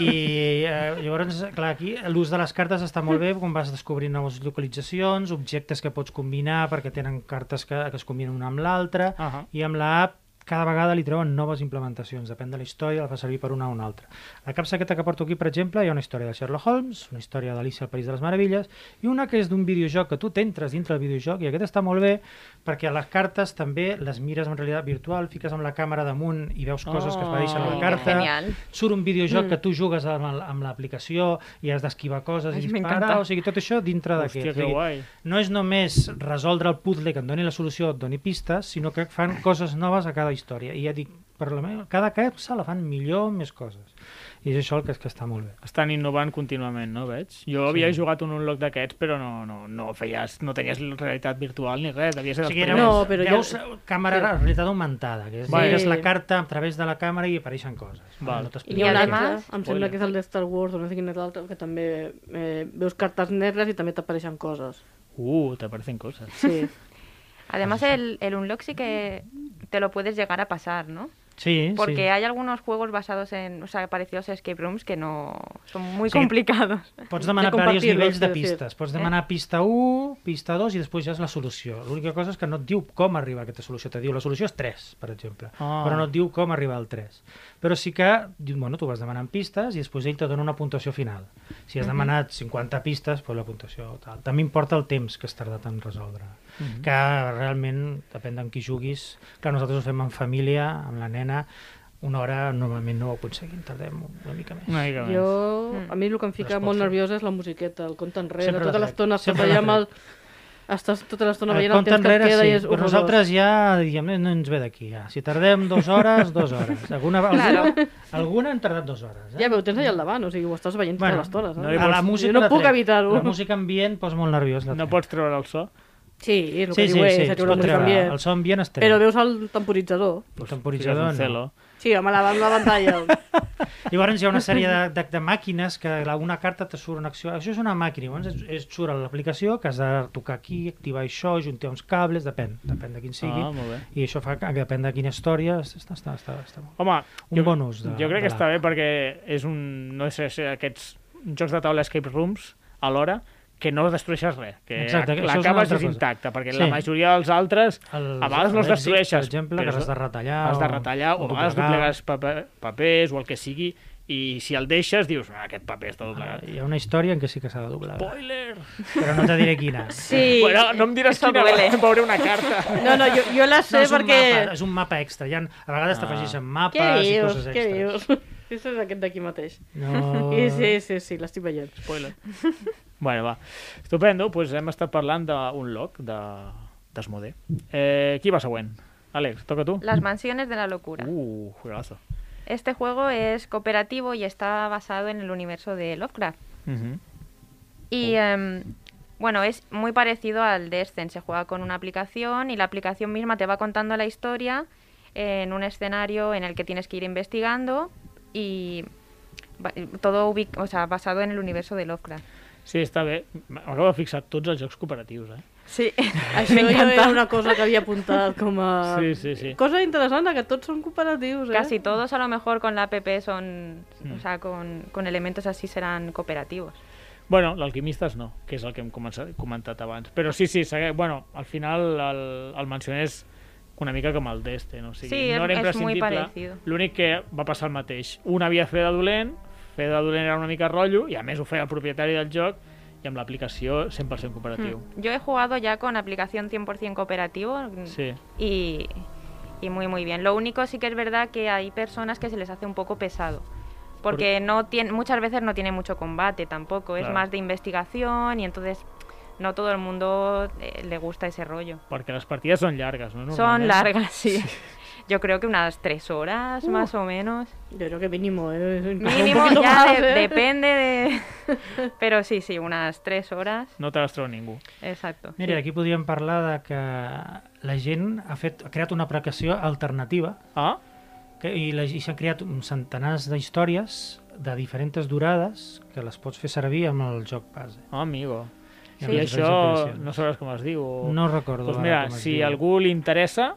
I eh, llavors, clar, aquí l'ús de les cartes està molt bé quan vas descobrint noves localitzacions, objectes que pots combinar perquè tenen cartes que, que es combinen una amb l'altra
Ahà.
i amb l'app cada vegada li treuen noves implementacions, depèn de la història, la fa servir per una o una altra. La capsa aquesta que porto aquí, per exemple, hi ha una història de Sherlock Holmes, una història d'Alicia al País de les Meravelles, i una que és d'un videojoc, que tu t'entres dintre del videojoc, i aquest està molt bé, perquè les cartes també les mires en realitat virtual, fiques amb la càmera damunt i veus coses que es apareixen a
Oh,
la
qué
carta
genial.
surt un videojoc mm. que tu jugues amb, el- amb l'aplicació i has d'esquivar coses
Ai,
i
m'encanta.
disparar, o sigui, tot això dintre d'aquest.
Hòstia,
O
que
sigui,
guai.
No és només resoldre el puzzle que et doni la solució, et doni pistes, sinó que fan coses noves a cada història. I ja dic, per la meva, cada capsa la fan millor, més coses. I és això el que, és que està molt bé.
Estan innovant contínuament, no veig? Jo havia jugat un Unlock d'aquests, però no, no, no, feies, no tenies realitat virtual ni res, devia ser dels
O sigui, era
primers.
No,
no,
però
però
jo-
veus càmera, realitat augmentada, que és,
Vale.
mires la
Sí.
carta a través de la càmera i apareixen coses.
Val.
t'explico
I n'hi ha un
I
res.
altre,
además-
em sembla que és el de Star Wars o no sé quin és l'altre, que també eh, veus cartes negres i també t'apareixen coses.
Uh, t'aparecen coses.
Sí.
Además, el, el Unlock sí que te lo puedes llegar a pasar, ¿no?
Sí,
Porque
sí.
hay algunos juegos basados en, o sea, parecidos a escape rooms que no son muy
Sí.
complicados.
Pots demanar
De
diversos
compartir-los,
nivells de
és a dir.
pistes. Pots demanar pista 1, pista 2 i després ja és la solució. L'única cosa és que no et diu com arribar a aquesta solució. Te diu la solució és 3, per exemple,
Ah.
però no et diu com arribar al 3. Però sí que, diu, bueno, tu vas demanant pistes i després ell te dona una puntuació final. Si has demanat 50 pistes, doncs la puntuació tal. També importa el temps que has tardat en resoldre. Que realment, depèn d'en qui juguis, que nosaltres ho fem en família, amb la nena, una hora normalment no ho aconseguim, tardem una mica més.
Una mica més.
Jo, a mi el que em
Però
fica
es pot
molt
fer.
nerviosa és la musiqueta, el compte enrere,
Sempre
tota
l'ha
l'estona
fet,
estàs
sempre
allà
l'ha
amb el, Estàs tota l'estona
El
veient el
compte
temps
Eh, enrere,
que et queda
sí,
i és
però
horrorós.
nosaltres ja, diguem, no ens ve d'aquí. Ja. Si tardem dues hores, dues hores. Alguna,
Claro.
alguna, alguna han tardat dues hores. Eh?
Ja, però ho tens allà al davant, o sigui, ho estàs veient
Bueno,
totes les tones.
no
Eh?
li
a la
pots-
música
jo no
la
puc
trec.
evitar-ho.
La música ambient posa molt nerviós. La
No
trec.
pots treure el so?
Sí, és el
Sí,
que
sí,
diu és,
sí,
sí,
es
sí,
pot treure.
ambient.
El so ambient es treu.
Però veus el temporitzador.
El
Fiques
temporitzador
un
no.
celo.
Sí, home, la, la pantalla.
Llavors hi ha una sèrie de, de, de màquines que la- una carta te surt una acció. Això és una màquina, llavors és, és surt a l'aplicació que has de tocar aquí, activar això, juntar uns cables, depèn, depèn de quin sigui.
Ah, molt bé.
I això fa que depèn de quina història. Està, està, està, està molt
Home,
Un bon ús de-
jo crec que
de
està bé perquè és un, no sé, si aquests jocs de taula escape rooms alhora que no destrueixes res, que
Exacte, això és una
l'acabes
altra
és
cosa.
intacta, perquè
Sí.
la majoria dels altres
El-
a vegades no els
l'èxit,
destrueixes.
Per exemple,
però
que has
és-
de retallar.
Has de retallar o, a vegades
doblegar.
doblegues paper, papers o el que sigui i si el deixes dius, ah, aquest paper està doblegat.
Hi ha una història en què sí que s'ha de doblar.
Spoiler!
Però no te diré quina.
Sí.
Bueno, no em diràs
Eso
quina,
duele.
veuré una carta.
No, no, jo, jo la
No,
sé
és, un
perquè...
mapa, és un mapa extra. Hi ha, a vegades t'afegeixen
Ah.
mapes
Què
i
dius?
coses
Què
extres. Oh.
dius? Això és aquest d'aquí mateix.
No...
Sí, sí, sí, sí l'estic veient.
Spoiler. bueno, va. Estupendo, doncs hem estat parlant d'un log de d'Esmodé. Eh, qui va següent? Àlex, toca tu.
Las mansiones de la locura.
Uh, juegazo.
Este juego es cooperativo y está basado en el universo de Lovecraft.
Mhm.
Oh.
Y em, bueno, es muy parecido al Descent. Se juega con una aplicación y la aplicación misma te va contando la historia en un escenario en el que tienes que ir investigando y va- todo ubic- o sea, basado en el universo de Lovecraft.
Sí, està bé. M'acabo de fixar tots els jocs cooperatius, eh?
Sí,
Això jo era una cosa que havia apuntat com a...
Sí, sí, sí.
Cosa interessant, que tots són cooperatius, eh?
Casi todos a lo mejor con la app son,
Mm.
o sea, con, con elementos así serán cooperativos.
Bueno, l'Alquimistes no, que és el que hem començat, comentat abans. Però sí, sí, segue... bueno, al final el, el mencioner és una mica com el d'este, no? O sigui,
Sí,
no era
és- és muy
imprescindible.
parecido.
L'únic que va passar el mateix. Un havia fet de dolent, fer de dolent era una mica rotllo, i a més ho feia el propietari del joc, i amb l'aplicació 100% cooperatiu.
Mm. Yo he jugado ya con aplicación 100% cooperativo mm,
Sí.
y, y muy muy bien. Lo único sí que es verdad que hay personas que se les hace un poco pesado. Porque no tiene, muchas veces no tiene mucho combate tampoco, es
Claro.
más de investigación y entonces no todo el mundo eh, le gusta ese rollo.
Perquè les partides són llargues, no?
Son
Normalment.
largas, sí. Yo creo que unas tres horas
Uh.
más o menos.
Jo crec que mínimo, eh? Inclús un
Mínimo,
poquito
ya
más,
de-
eh?
depende de... Pero sí, sí, unas tres horas,
No te les treu ningú.
exacto.
Mira, aquí podríem parlar de que la gent ha, fet, ha creat una aplicació alternativa
Ah?
que, i, la- i s'han creat uns centenars d'històries de diferents durades que les pots fer servir amb el joc base.
Ah, amigo. Sí.
I amb
I
les
això
diferents
no sabràs com es diu. O...
No recordo
Doncs
ara
mira,
com es
si
diu.
algú li interessa,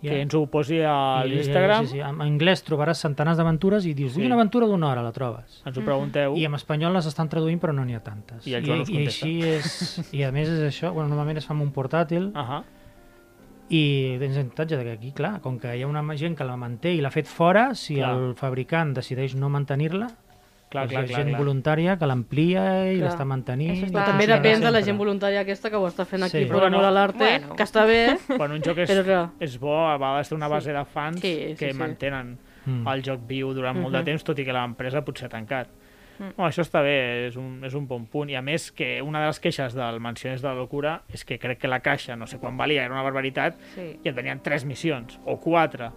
Ja.
que ens ho posi a
I- i-
l'Instagram,
Sí, sí, en anglès trobaràs centenars d'aventures i dius,
Sí.
sí. una aventura d'una hora la trobes.
ens ho pregunteu.
I en espanyol les estan traduint però no n'hi ha tantes.
I el Joan us
I,
contesta.
així és... I a més és això, bueno, normalment es fa amb un portàtil
Ahà.
i tens l'avantatge de que aquí, clar, com que hi ha una gent que la manté i l'ha fet fora, si
Clar.
clar. el fabricant decideix no mantenir-la,
Clar,
doncs hi
clar,
ha
clar,
gent
clar.
funtària que l'amplia i
Clar.
l'està mantenint.
Això
i
està-
També
Sí,
depèn de la
sempre.
gent voluntària aquesta que ho està fent aquí,
Sí.
sí. però
Bueno,
no de l'arte,
bueno.
que està bé.
Quan un joc és,
Però clar.
és bo, a vegades té una base de fans
Sí, sí,
que
sí.
mantenen
Mm.
el joc viu durant molt de
Mhm.
temps, tot i que l'empresa potser ha tancat.
Mm.
Bueno, això està bé, és un, és un bon punt. I a més, que una de les queixes del Mansiones de la Locura és que crec que la caixa, no sé quan valia, era una barbaritat,
Sí.
i et venien tres missions, o quatre,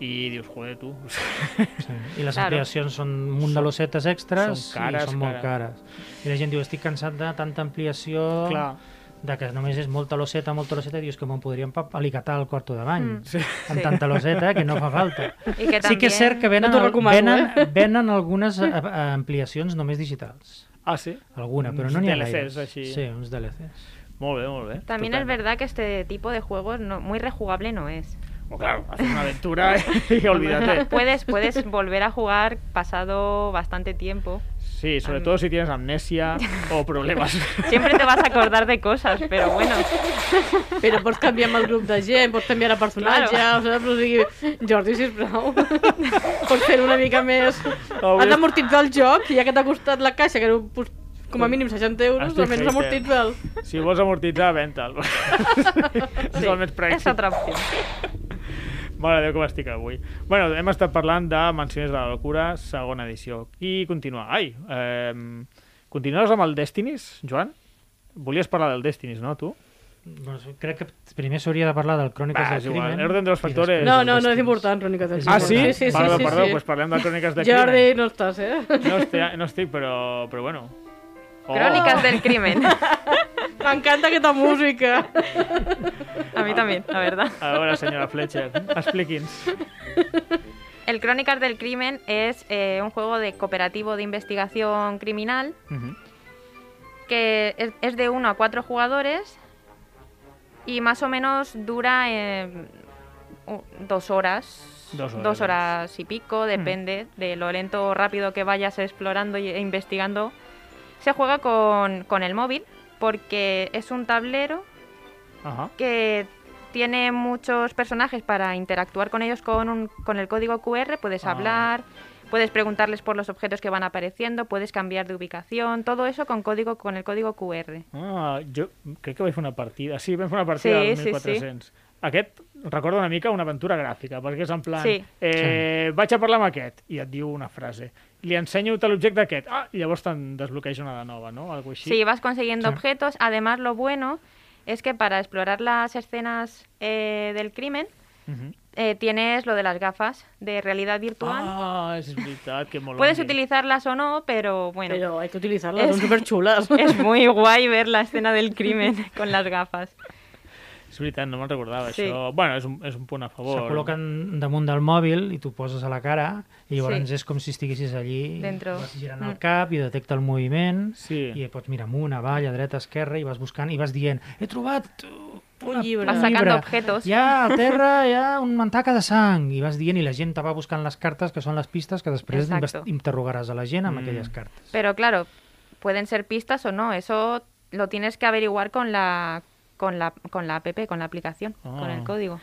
i dius, joder, tu,
Sí. I les
Claro.
ampliacions són un munt de losetes extres
són cares,
i són molt
cara.
cares. I la gent diu, estic cansat de tanta ampliació,
clar,
de que només és molta loseta, molta loseta, i dius que me'n podrien pa- alicatar el quarto de bany,
Mm.
sí. amb
Sí.
tanta loseta que no fa falta.
Y que
Sí que és cert que
también-
venen,
No t'ho
al-
recomano,
venen,
eh?
venen algunes eh, eh, ampliacions només digitals.
ah, sí?
Alguna, però
Uns
no n'hi ha
DLCs
gaires.
així.
Sí, uns DLCs.
Molt bé, molt bé.
También es
Estupendo.
verdad que este tipo de juegos no, muy rejugable no es.
Bueno, claro, haces una aventura y olvídate.
Puedes, puedes volver a jugar pasado bastante tiempo.
Sí, sobre
Am-
todo si tienes amnesia o problemas.
Siempre te vas a acordar de cosas, pero bueno.
Però pots canviar amb el grup de gent, pots canviar de personatge,
Claro.
claro. saps? O sigui, Jordi, sisplau, pots fer una mica més.
Avui
Has d'amortitzar el joc, i ja que t'ha costat la caixa, que era pues, com a mínim 60 euros,
Estic
almenys
fent,
amortitza'l.
Si vols amortitzar, venta'l. és el més pràctic.
es otra opción.
Mare de Déu, com estic avui. bueno, hem estat parlant de Mansiones de la Locura, segona edició. I continua. Ai, eh, continues amb el Destinies, Joan? Volies parlar del Destinies, no, tu?
Bueno, crec que primer s'hauria de parlar del Cròniques
Va,
del
és igual.
Crimen.
L'ordre dels
i
factores.
després
No,
dels
no, no és
destins.
important, Cròniques del
És
Ah,
Crimen.
sí?
important.
Sí, sí,
perdó,
sí,
perdó,
sí.
pues parlem de cròniques de
Jordi,
crimen.
no estàs, eh?
No estic, no estic però, però bueno. Oh.
Crónicas del crimen.
M'encanta aquesta música.
A mí también, la verdad.
Oh, A veure, senyora Fletcher, expliqui'ns.
El Crónicas del Crimen es eh, un juego de cooperativo de investigación criminal
Ujú.
que es, es de 1 a 4 jugadores y más o menos dura eh, u- dos horas.
Dos Hmm. horas.
horas y pico, depende de lo lento o rápido que vayas explorando y- e investigando. Se juega con, con el móvil porque es un tablero
Ajá.
que tiene muchos personajes para interactuar con ellos con, un- con el código QR. Puedes
Ah.
hablar, puedes preguntarles por los objetos que van apareciendo, puedes cambiar de ubicación, todo eso con código con el código QR.
Ah, jo crec que vaig fer una partida. Sí, vam fer una partida
Sí,
del
sí,
1400. Aquest recorda una mica una aventura gràfica, perquè és en plan...
Sí.
Eh, Vaig a parlar amb aquest, i et diu una frase. Li ensenyo tal l'objecte aquest. Ah, i llavors te'n desbloqueja una de nova, no? Algo així.
Sí, vas consiguiendo
Sí.
objetos. Además, lo bueno es que para explorar las escenas eh, del crimen
Ujú.
eh, tienes lo de las gafas de realidad virtual.
Ah, és veritat, que molt
Puedes utilizarlas o no, pero bueno.
Però hay que utilizarlas,
Es-
són superxules.
Es muy guay ver la escena del crimen con las gafas.
És veritat, no me'n recordava,
Sí.
això. Bueno, és un, és un punt a favor.
Se col·loquen damunt del mòbil i tu poses a la cara i llavors
Sí.
és com si estiguessis allí
Dentro.
i vas girant
Mm.
el cap i detecta el moviment
Sí.
i pots mirar amunt, avall, a dreta, a esquerra i vas buscant i vas dient, he trobat uh, una,
llibre.
Vas
Vas
sacando
llibre.
objetos.
Hi ha a terra hi ha un mantaca de sang i vas dient i la gent te va buscant les cartes que són les pistes que després
Exacto.
invest- interrogaràs a la gent amb
Mm.
aquelles cartes.
Pero claro, pueden ser pistas o no, eso lo tienes que averiguar con la con la con la app, con la aplicación, con el
Ah.
código.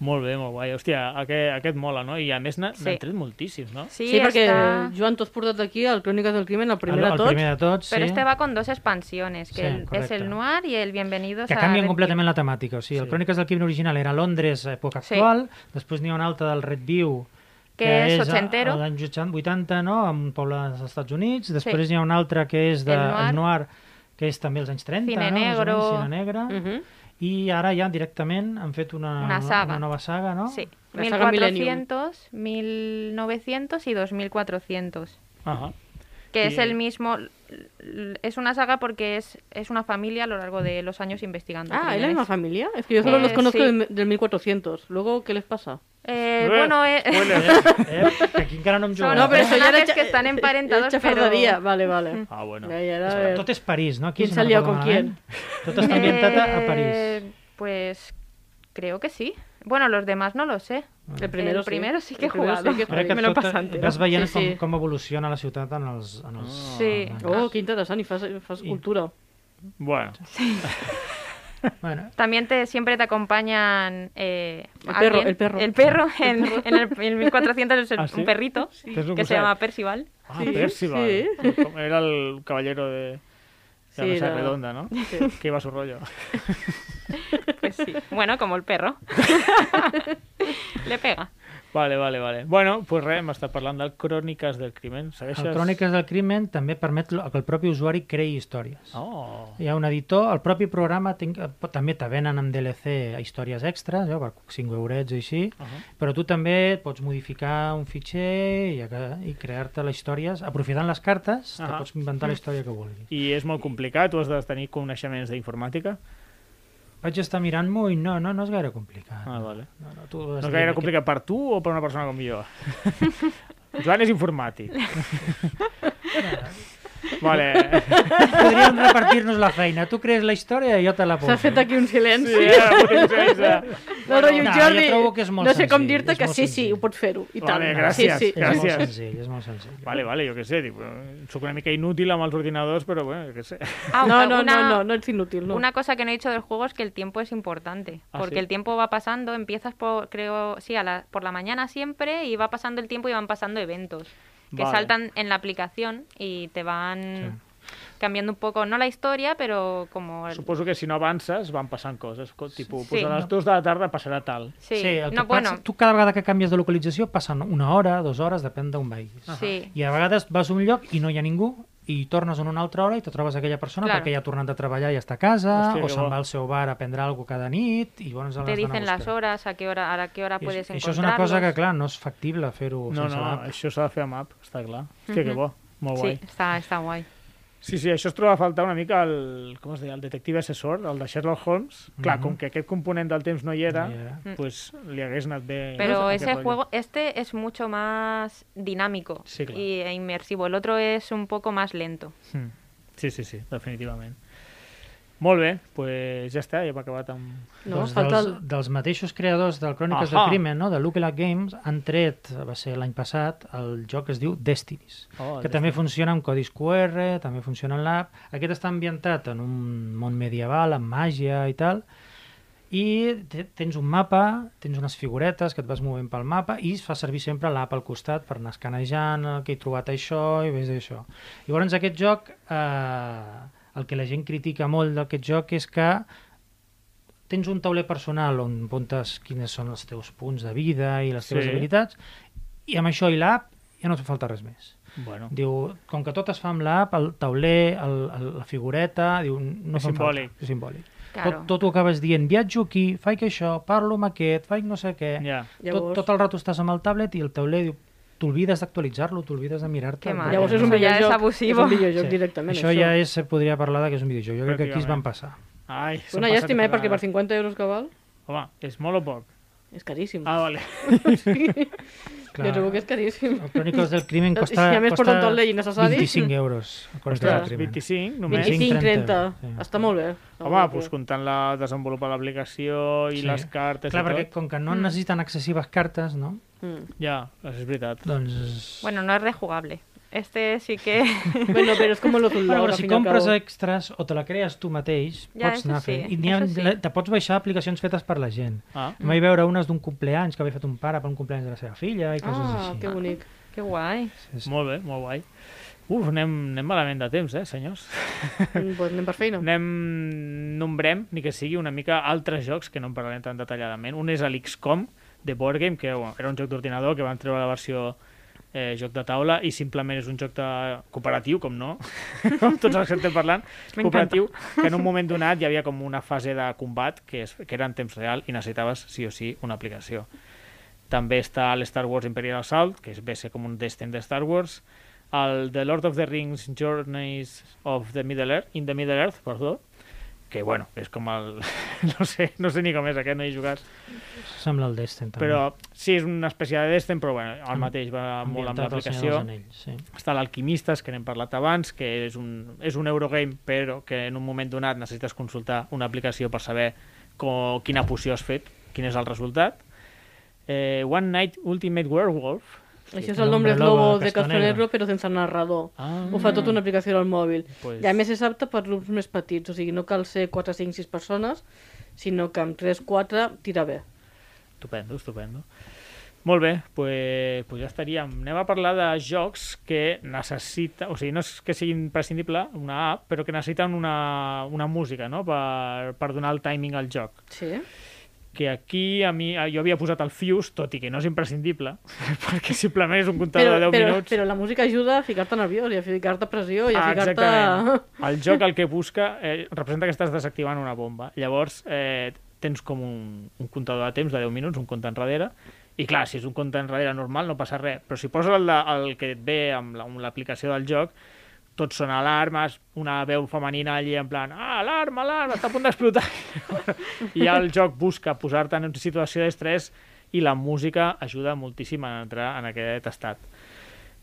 Molt bé, molt guai. Hòstia, aquest, aquest mola, no? I a més n'ha-
Sí.
n'han tret moltíssims, no?
Sí,
Sí, perquè
está-
Joan, t'ho has portat aquí, al Cròniques del Crimen, el primer
el,
de
el
tots.
primer de tots,
Pero
sí,
este va con dos expansiones, que
Sí,
el- es
correcto.
el Noir y el Bienvenidos
que
a
canvien
Red
completament la temàtica. O sigui, el
Sí.
Cròniques del Crimen original era Londres, època
Sí.
actual, després n'hi ha una altra del Red View,
Que és ochentero.
L'any 80, no?, en un poble dels Estats Units. Després
Sí.
n'hi ha una altra que és de,
El Noir.
el Noir, que és també els anys 30,
Cine
no? Més o
Negro.
menys, Cine Negre.
Mhm.
I ara ja directament han fet una,
Una saga.
una nova saga, no?
Sí,
La saga Millennium.
1400, 1900 y 2400.
Ajá.
Que
Y-
es el mismo. Es una saga porque es, es una familia a lo largo de los años investigando.
Ah, ¿es la
crímenes.
misma familia? Es que yo solo
Eh,
los conozco
sí.
del, del 1400. Luego, ¿qué les pasa?
Eh,
Eh,
bueno, eh,
spoiler.
Eh? Que aquí encara no hem
Son
jugat.
No, pero
eh?
eso ya era Personajes
cha-
que están Mm.
eh,
emparentados,
eh, chafardería. Vale, vale.
Ah, bueno.
Ya, ya era
És-
de-
Tot Eh, és París, no? Aquí,
¿Quién
si
se
no
ha liado
recordo
con
malament. Tot està ambientat a, a París.
Eh, Pues creo que sí. Bueno, los demás no lo sé.
El primero,
El primero sí que he
El primero
jugado.
sí que he
A veure
jugado.
que
me lo
tot- eh,
pasa entero.
vas veient
eh. Sí,
com,
sí.
com evoluciona la ciutat en els... En els
Sí.
en-
Oh, qué interesante. Y fas, fas cultura.
Bueno,
Bueno,
También te, siempre te acompañan. eh,
El perro,
alguien.
el perro.
El perro en, en el, en 1400 es el-
¿Ah, sí?
un perrito
Te has
que
ocultado.
se llama Percival.
Ah, Percival.
sí.
Com Era el caballero de de la
Sí,
mesa
era-
redonda, ¿no? Que iba a su rollo.
Pues sí. Bueno, como el perro. Le pega.
Vale, vale, vale. Bueno, pues re, hem estat parlant del Cròniques del Crimen.
Oh.
Segueixes...
el Cròniques del Crimen també permet lo- que el propi usuari creï històries.
Oh.
Hi ha un editor, el propi programa tinc, eh, pot- també te venen amb DLC a històries extres, eh, per 5 eurets i així,
Uh -huh.
però tu també pots modificar un fitxer i, aga- i crear-te les històries. Aprofitant les cartes, te
Ahà.
pots inventar la història que vulguis.
I és molt complicat, tu has de tenir coneixements d'informàtica.
Vaig estar mirant-m'ho i no, no, no és gaire complicat.
Ah, vale.
No, no, tu
No
has
és
de-
gaire complicat per tu o per una persona com jo? Joan és informàtic. vale.
Podríem repartir-nos la feina. Tu crees la història i jo te la poso.
S'ha fet aquí un silenci.
Sí, ara potser és-
No, rotllo,
No, jo
Jordi,
trobo que és molt
no sé com
senzill,
dir-te
és
que
molt
sí, sí,
senzill.
ho pots fer-ho, i tant.
Vale, gràcies,
Sí, sí.
És molt
Gràcies.
senzill, és molt senzill.
Vale, vale, jo què sé, tipo, eh, sóc una mica inútil amb els ordinadors, però bueno, jo què sé.
Ah,
No, no,
una-
no, no, no es inútil, no.
Una cosa que no he dicho del juego es que el tiempo es importante,
¿Ah,
porque
sí?
el tiempo va pasando, empiezas por, creo, sí, a la- por la mañana siempre y va pasando el tiempo y van pasando eventos que
Vale.
saltan en la aplicación y te van cambiando un poco, no la historia, pero como... el-
Suposo que si no avances van passant coses, co- tipus,
Sí.
pues a les dues de la tarda passarà tal.
Sí,
Sí, el que
no,
no, passa,
bueno,
tu cada vegada que canvies de localització passen una hora, dues hores, depèn d'on vagis.
sí,
I a vegades vas a un lloc i no hi ha ningú i tornes en una altra hora i te trobes aquella persona
Claro.
perquè ja ha tornat a treballar i està a casa,
Hòstia, que
o se'n
bo.
va al seu bar a prendre alguna cosa cada nit, i llavors l'has d'anar
Te
a
dicen las
buscar.
horas, a qué hora, a la qué hora
I
puedes
això és una cosa que,
encontrarlos.
clar, no és factible fer-ho
No,
sense
no,
l'app.
això s'ha de fer amb app, està clar. Hòstia, que bo, molt guai.
Sí, está, está guay.
Sí, sí, això es troba a faltar una mica el, com es deia, el detective assessor, el de Sherlock Holmes. Clar,
Mhm.
com que aquest component del temps no hi era,
No hi era.
doncs pues, li hagués anat bé...
Pero
aquest
ese
rotllo.
juego, este es mucho más dinámico
Sí, claro.
y- e inmersivo. El otro es un poco más lento.
Mm. Sí, sí, sí, definitivament. Molt bé, doncs pues ja està, ja hem acabat amb...
No,
doncs
falta
dels,
el...
dels mateixos creadors del Cròniques
Ahà.
del Crimen, no? de Lucky Luck Games, han tret, va ser l'any passat, el joc que es diu Destinies,
Oh,
que també funciona amb codis QR, també funciona en l'app. Aquest està ambientat en un món medieval, amb màgia i tal, i te- tens un mapa, tens unes figuretes que et vas movent pel mapa i es fa servir sempre l'app al costat per anar escanejant el que he trobat això i ves això. Llavors aquest joc, eh, el que la gent critica molt d'aquest joc és que tens un tauler personal on apuntes quines són els teus punts de vida i les teves
Sí.
habilitats i amb això i l'app ja no et fa falta res més.
Bueno,
Diu, com que tot es fa amb l'app, el tauler, el, el, la figureta, diu, no
És
fa falta.
simbòlic.
És simbòlic.
Claro.
Tot, tot ho acabes dient, viatjo aquí, faig això, parlo amb aquest, faig no sé què.
ja.
Tot,
Llavors-
tot el rato estàs amb el tablet i el tauler diu, t'olvides d'actualitzar-lo, t'olvides de mirar-te.
Qué mal.
Llavors és un
Això ja és
videojoc.
abusivo.
És un videojoc directament,
Això, ja és, se podria parlar de que és un videojoc. Jo crec que aquí es van passar.
Ai,
És una llàstima, eh, perquè per 50 euros que val
Home, és molt o poc?
és caríssim.
Ah, vale.
Jo trobo que és caríssim.
El Cròniques del Crimen
I
costa,
a més
costa
porten tot l'ell innecessari.
25 euros. El Cròniques del
Ostres,
Crimen.
25 només.
25.
25, 30.
Sí.
Està molt bé. Està
Home,
molt
doncs
bé.
comptant la desenvolupar l'aplicació i
Sí.
les cartes
Clar,
i tot.
perquè com que no necessiten excessives cartes, no?
Mm.
Ja, això és veritat.
Doncs...
Bueno, no es rejugable. Este sí que...
Bueno, pero es como lo del
Bueno,
lado,
però
al
si
fin y al
compres
cabo.
extras o te la crees tu mateix,
Ja,
pots
això
anar
sí,
fent. I n'hi ha,
això sí.
la- te pots baixar aplicacions fetes per la gent.
Ah,
Mm.
Em vaig veure unes d'un compleanys que havia fet un pare per un compleanys de la seva filla i coses
Ah,
així.
que bonic.
Qué guay.
Sí.
molt bé, molt guai. Uf, anem, anem malament de temps, eh, senyors?
Mm, Pues anem per feina.
Anem, nombrem, ni que sigui una mica altres jocs que no en parlarem tan detalladament. Un és l'XCOM de Board Game, que bueno, era un joc d'ordinador que van treure la versió eh, joc de taula i simplement és un joc de... cooperatiu, com no, amb tots els que estem parlant, cooperatiu, que en un moment donat hi havia com una fase de combat que, es, que era en temps real i necessitaves sí o sí una aplicació. També està el Star Wars Imperial Assault, que és ve a ser com un destin de Star Wars, el The Lord of the Rings Journeys of the Middle Earth, in the Middle Earth, perdó, que bueno, és com el... no, sé, no sé ni com és, aquest no hi he jugat.
Sembla el Destin, també.
Però sí, és una espècie de destin, però bueno, el mateix va molt amb
Ambientat al Senyor
l'aplicació.
dels Anells, sí.
Està l'Alquimistes, que n'hem parlat abans, que és un, és un Eurogame, però que en un moment donat necessites consultar una aplicació per saber co, quina poció has fet, quin és el resultat. Eh, One Night Ultimate Werewolf.
Això és
El
el nombre
hombre lobo
lobo de
Castanero.
Castanero, però sense narrador.
Ah.
Ho fa
Mm.
tot una aplicació al mòbil.
Pues-
I a més és apta per grups més petits, o sigui, no cal ser 4, 5, 6 persones, sinó que amb 3, 4 tira bé.
Estupendo, estupendo. Molt bé, pues, pues ja estaríem. Anem a parlar de jocs que necessita, o sigui, no és que sigui imprescindible una app, però que necessiten una, una música, no?, per, per donar el timing al joc.
Sí?
Que aquí a mi, jo havia posat el Fuse, tot i que no és imprescindible, perquè simplement és un
Però,
comptador de 10
però,
minuts.
però la música ajuda a ficar-te nerviós i a ficar-te pressió i a ficar-te...
Ah, exactament. El joc el que busca eh, representa que estàs desactivant una bomba. Llavors, eh, tens com un, un comptador de temps de 10 minuts, un compte enrere, i clar, si és un compte enrere normal no passa res, però si poses el, de, el que et ve amb la- amb l'aplicació del joc, tots són alarmes, una veu femenina allí en plan, ah, alarma, alarma, està a punt d'explotar. I ja el joc busca posar-te en una situació d'estrès i la música ajuda moltíssim a entrar en aquest estat.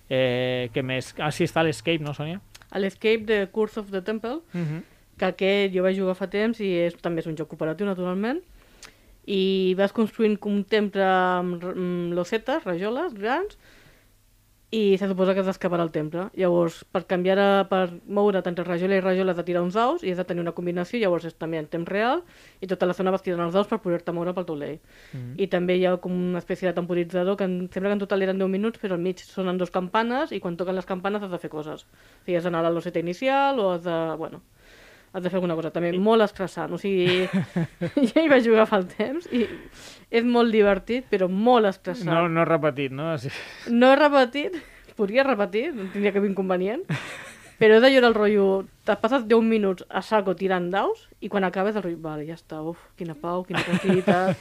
Eh, què més? Ah, sí, està l'Escape, no, Sònia?
A l'Escape de Curse of the Temple,
Uh -huh.
que aquest jo vaig jugar fa temps i és, també és un joc cooperatiu, naturalment, i vas construint un temple amb, r- amb losetes, rajoles, grans, i se suposa que has d'excavar el temple. Llavors, per canviar, a, per moure't entre rajola i rajola has de tirar uns daus i has de tenir una combinació, llavors és també en temps real, i tota la zona vas tirant els daus per poder-te moure pel taulell. Mm. I també hi ha com una espècie de temporitzador, que en, sembla que en total eren 10 minuts, però al mig sonen dos campanes, i quan toquen les campanes has de fer coses. O sigui, has d'anar a la loseta inicial, o has de... Bueno, has de fer alguna cosa també molt estressant, o sigui, ja hi vaig jugar fa el temps i és molt divertit, però molt estressant.
No, no repetit, no? Sí.
No he repetit, podria repetir, no tindria cap inconvenient, Pero he de llorar el rotllo... T'has passat 10 minuts a saco tirant daus i quan acabes el rotllo... Vale, ja està, uf, quina pau, quina tranquil·litat...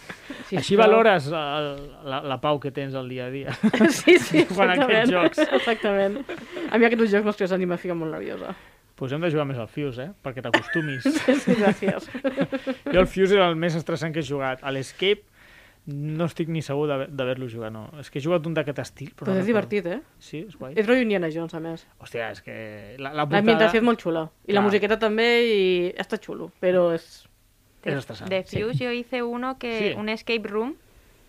sisplau".
Així valores el, la, la pau que tens al dia a dia.
Sí, sí,
Quan
exactament.
aquests jocs.
Exactament. A mi aquests jocs, m'estries ànima, fica molt nerviosa.
Pues hem de jugar més al Fuse, eh? Perquè t'acostumis.
Sí, sí, gràcies.
Jo el Fuse era el més estressant que he jugat. A l'Escape no estic ni segur d'haver- d'haver-lo jugat, no. És que he jugat un d'aquest estil, però
Però
no
és
recordo.
divertit, eh?
Sí, és guai.
És rotllo Indiana Jones, a més.
Hòstia, és que la, la portada
L'ambientació és molt xula. I
tota- Clar.
la musiqueta també, i està xulo. Pero es...
és estressant.
De Fuse yo hice uno que...
Sí.
Un escape room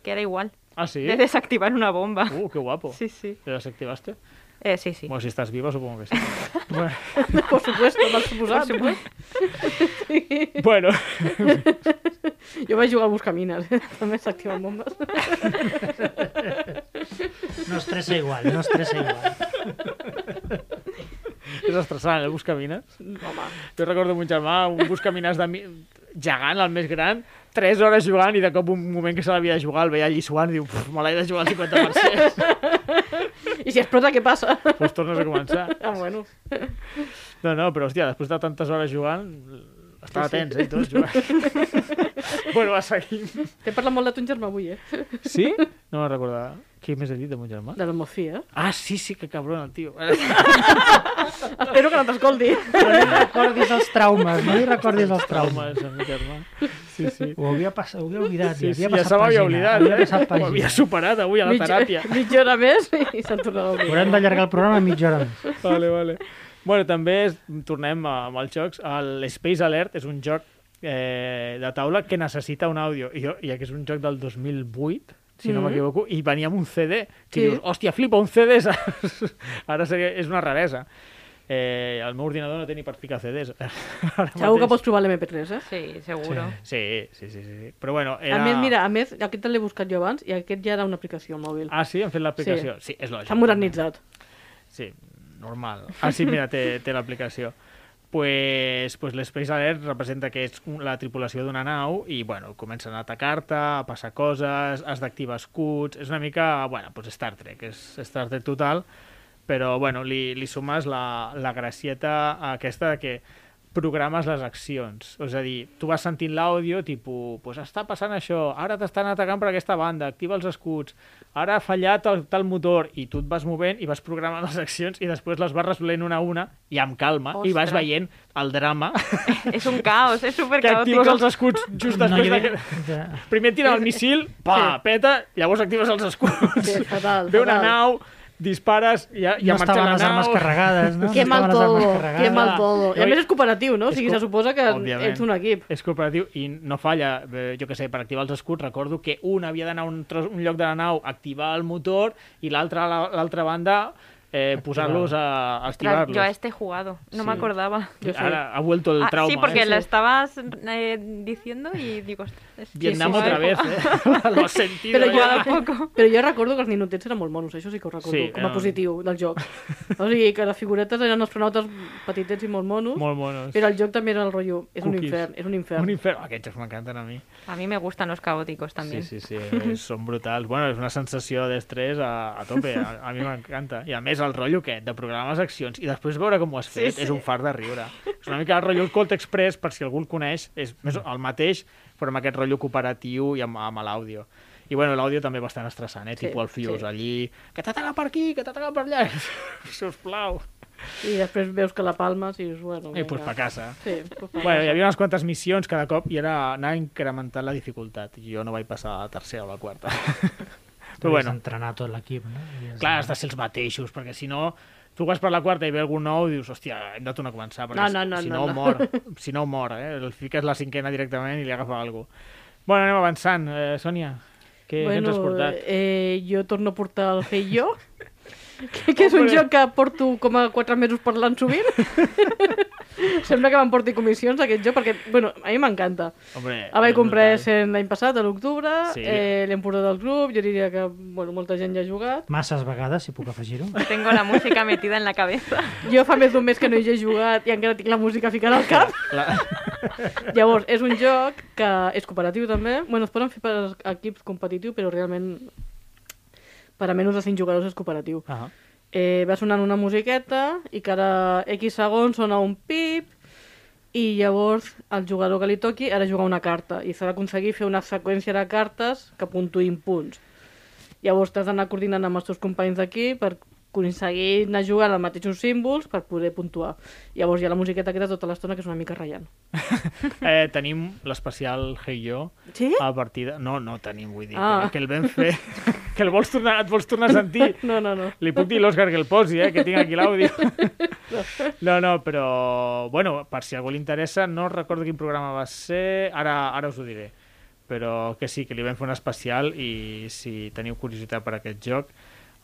que era igual.
Ah, sí?
De desactivar una bomba.
Uh, que guapo.
Sí, sí.
¿Te desactivaste?
Eh, sí, sí.
Bueno, si estás viva, supongo que sí. bueno,
Por supuesto, per suposat.
bueno,
Jo vaig jugar a Buscamines, eh? també s'activen bombes.
No estressa igual, no estressa igual.
és estressant, eh? el buscamines.
Home,
Jo recordo mon germà, un buscamines de mi... gegant, el més gran, 3 hores jugant i de cop un moment que se l'havia de jugar el veia allí suant i diu, "Puf, me l'he de jugar al 50%.
i si explota, què passa?
pues tornes a començar.
Ah, bueno.
No, no, però hòstia, després de tantes hores jugant, estava tens, eh, i tot, jugant. bueno, va, seguim.
T'he parlat molt de ton germà avui, eh?
Sí? No me'n recordava. Què més he dit de mon germà?
De la mofia.
Ah, sí, sí, que cabron el tio.
Espero que no t'escolti.
Però no li recordis els traumes, no li recordis els traumes.
Traumes, el meu germà. Sí, sí.
Ho havia, pas... ho havia oblidat,
Sí,
ja
sí, ja
havia
se
passat
m'havia
pàgina.
oblidat,
Havia passat
eh? Ho
pàgina.
havia superat avui a la teràpia.
mitja hora més i se'n tornarà al dia.
Haurem d'allargar el programa mitja hora més.
Vale, vale. Bueno, també es, tornem a, amb els jocs. El Space Alert és un joc eh, de taula que necessita un àudio. I, jo- ja que és un joc del 2008, si no
Mhm.
m'equivoco, i venia amb un CD. Que
Sí.
dius, hòstia, flipa, un CD saps? ara seria, és una raresa. Eh, el meu ordinador no té ni per ficar CDs. Ara
Segur que
mateix.
pots trobar l'MP3, eh?
Sí, seguro.
Sí, sí, sí, sí. sí. Però bueno,
A
era...
més, mira, a més, aquest l'he buscat jo abans i aquest ja era una aplicació al mòbil.
Ah, sí? Han fet l'aplicació? Sí. sí, és lògic.
S'ha modernitzat.
Ah,
Sí, normal. Ah, sí, mira, té, té l'aplicació. Pues, pues l'Space Alert representa que és un- la tripulació d'una nau i, bueno, comencen a atacar-te, a passar coses, has d'activar escuts... És una mica, bueno, pues Star Trek, és Star Trek total, però, bueno, li, li sumes la, la gracieta aquesta de que programes les accions. És a dir, tu vas sentint l'àudio, tipus, pues està passant això, ara t'estan atacant per aquesta banda, activa els escuts, ara ha fallat el, tal motor, i tu et vas movent i vas programant les accions i després les vas resolent una a una i amb calma, i vas
Ostres.
veient el drama
Es un caos, es súper
que actives els
caótico.
escuts just
No
després
hi
no,
havia...
de que... Primer et tira el missil, pa, peta, llavors actives els escuts.
Sí, fatal,
Ve una
fatal.
nau, dispares, ja, ja marxa
no
la
estaven les armes
nau.
carregades, no?
Qué
no
mal
estaven les armes
todo, qué
carregades.
mal todo. I a
Oi.
més és cooperatiu, no? O
És
sigui,
co-
se suposa que
Òbviament.
ets un equip.
És cooperatiu i no falla. Eh, Jo que sé, per activar els escuts recordo que un havia d'anar a un, tros, un lloc de la nau, activar el motor, i l'altre a la- l'altra banda eh, posar-los a, a
Ostras,
activar-los.
Yo a este he jugado, no me
Sí.
acordaba.
Yo sí.
Ara ha vuelto el
Ah,
trauma.
sí, porque
eh?
la estabas eh, diciendo y digo, ostras, es que
Vietnam
sí,
otra
sí.
vez, eh? Lo has sentido.
Però
eh?
Jugado
jo,
poco.
però jo recordo que els ninotets eren molt monos, això sí que ho recordo,
Sí,
com a
eren-
positiu del joc. O sigui, que les figuretes eren astronautes petitets i molt monos,
Molt monos.
però el joc també era el rotllo, és un
Cookies.
infern, és un infern.
Un infern. Oh, aquests jocs m'encanten a mi.
A mí me gustan los caóticos también.
Sí, sí, sí, és- són brutals. Bueno, és una sensació d'estrès a, a tope, a, a mi m'encanta. I a més el rotllo aquest, de programar les accions i després veure com ho has fet, sí, sí. és un far de riure. És una mica el rotllo el Colt Express, per si algú el coneix, és més el mateix, però amb aquest rotllo cooperatiu i amb, amb l'àudio. I bueno, l'àudio també bastant estressant, eh?
Sí,
Tipo el Fius
sí.
allí, que t'ataca per aquí, que t'ataca per allà. Sisplau.
I després veus que la palmes i dius, bueno,
I Eh, pues
vinga.
pa casa.
Sí, pues pa
Bueno, hi
casa.
havia unes quantes missions cada cop i era anar incrementant la dificultat. Jo no vaig passar a la tercera o la quarta.
Tu
Però
bueno.
bueno,
entrenar tot l'equip, no? I és-
clar, has de ser els mateixos, perquè si no... Tu vas per la quarta i ve algú nou i dius, hòstia, hem de tornar a començar, perquè
No, no, no,
si
no,
no,
no.
mor, si no mor, eh? El fiques la cinquena directament i li agafa algú. Bueno, anem avançant. Eh, Sònia, què, què ens has portat?
eh, jo torno a portar el Hey Yo, que, que és un
Hombre.
joc que porto com a 4 mesos parlant sovint. Sembla que me'n porti comissions aquest joc, perquè, bueno, a mi m'encanta.
Hombre, eh,
El vaig
és
comprar
brutal.
sent l'any passat, a l'octubre,
Sí.
sí. eh, l'hem portat al club, jo diria que bueno, molta gent ja ha jugat.
Masses vegades, si puc afegir-ho.
Tengo la música metida en la cabeza.
Jo fa més d'un mes que no hi he jugat i encara tinc la música ficada al cap.
La...
Llavors, és un joc que és cooperatiu també. Bueno, es poden fer per equips competitiu, però realment per a menys de 5 jugadors és cooperatiu.
Ah,
eh, va sonant una musiqueta i cada X segons sona un pip i llavors el jugador que li toqui ha de jugar una carta i s'ha d'aconseguir fer una seqüència de cartes que puntuïn punts. Llavors t'has d'anar coordinant amb els teus companys d'aquí per aconseguir anar jugant els mateixos símbols per poder puntuar. Llavors hi ha la musiqueta aquesta tota l'estona que és una mica ratllant.
Eh, tenim l'especial Hey Yo
Sí?
a partida... No, no tenim, vull dir,
Ah.
ah. que el vam fer... que el vols tornar, et vols tornar a sentir.
No, no, no.
Li puc dir a l'Òscar que el posi, eh, que tinc aquí l'àudio. No, no, però... Bueno, per si a algú li interessa, no recordo quin programa va ser... Ara, ara us ho diré. Però que sí, que li vam fer un especial i si teniu curiositat per aquest joc,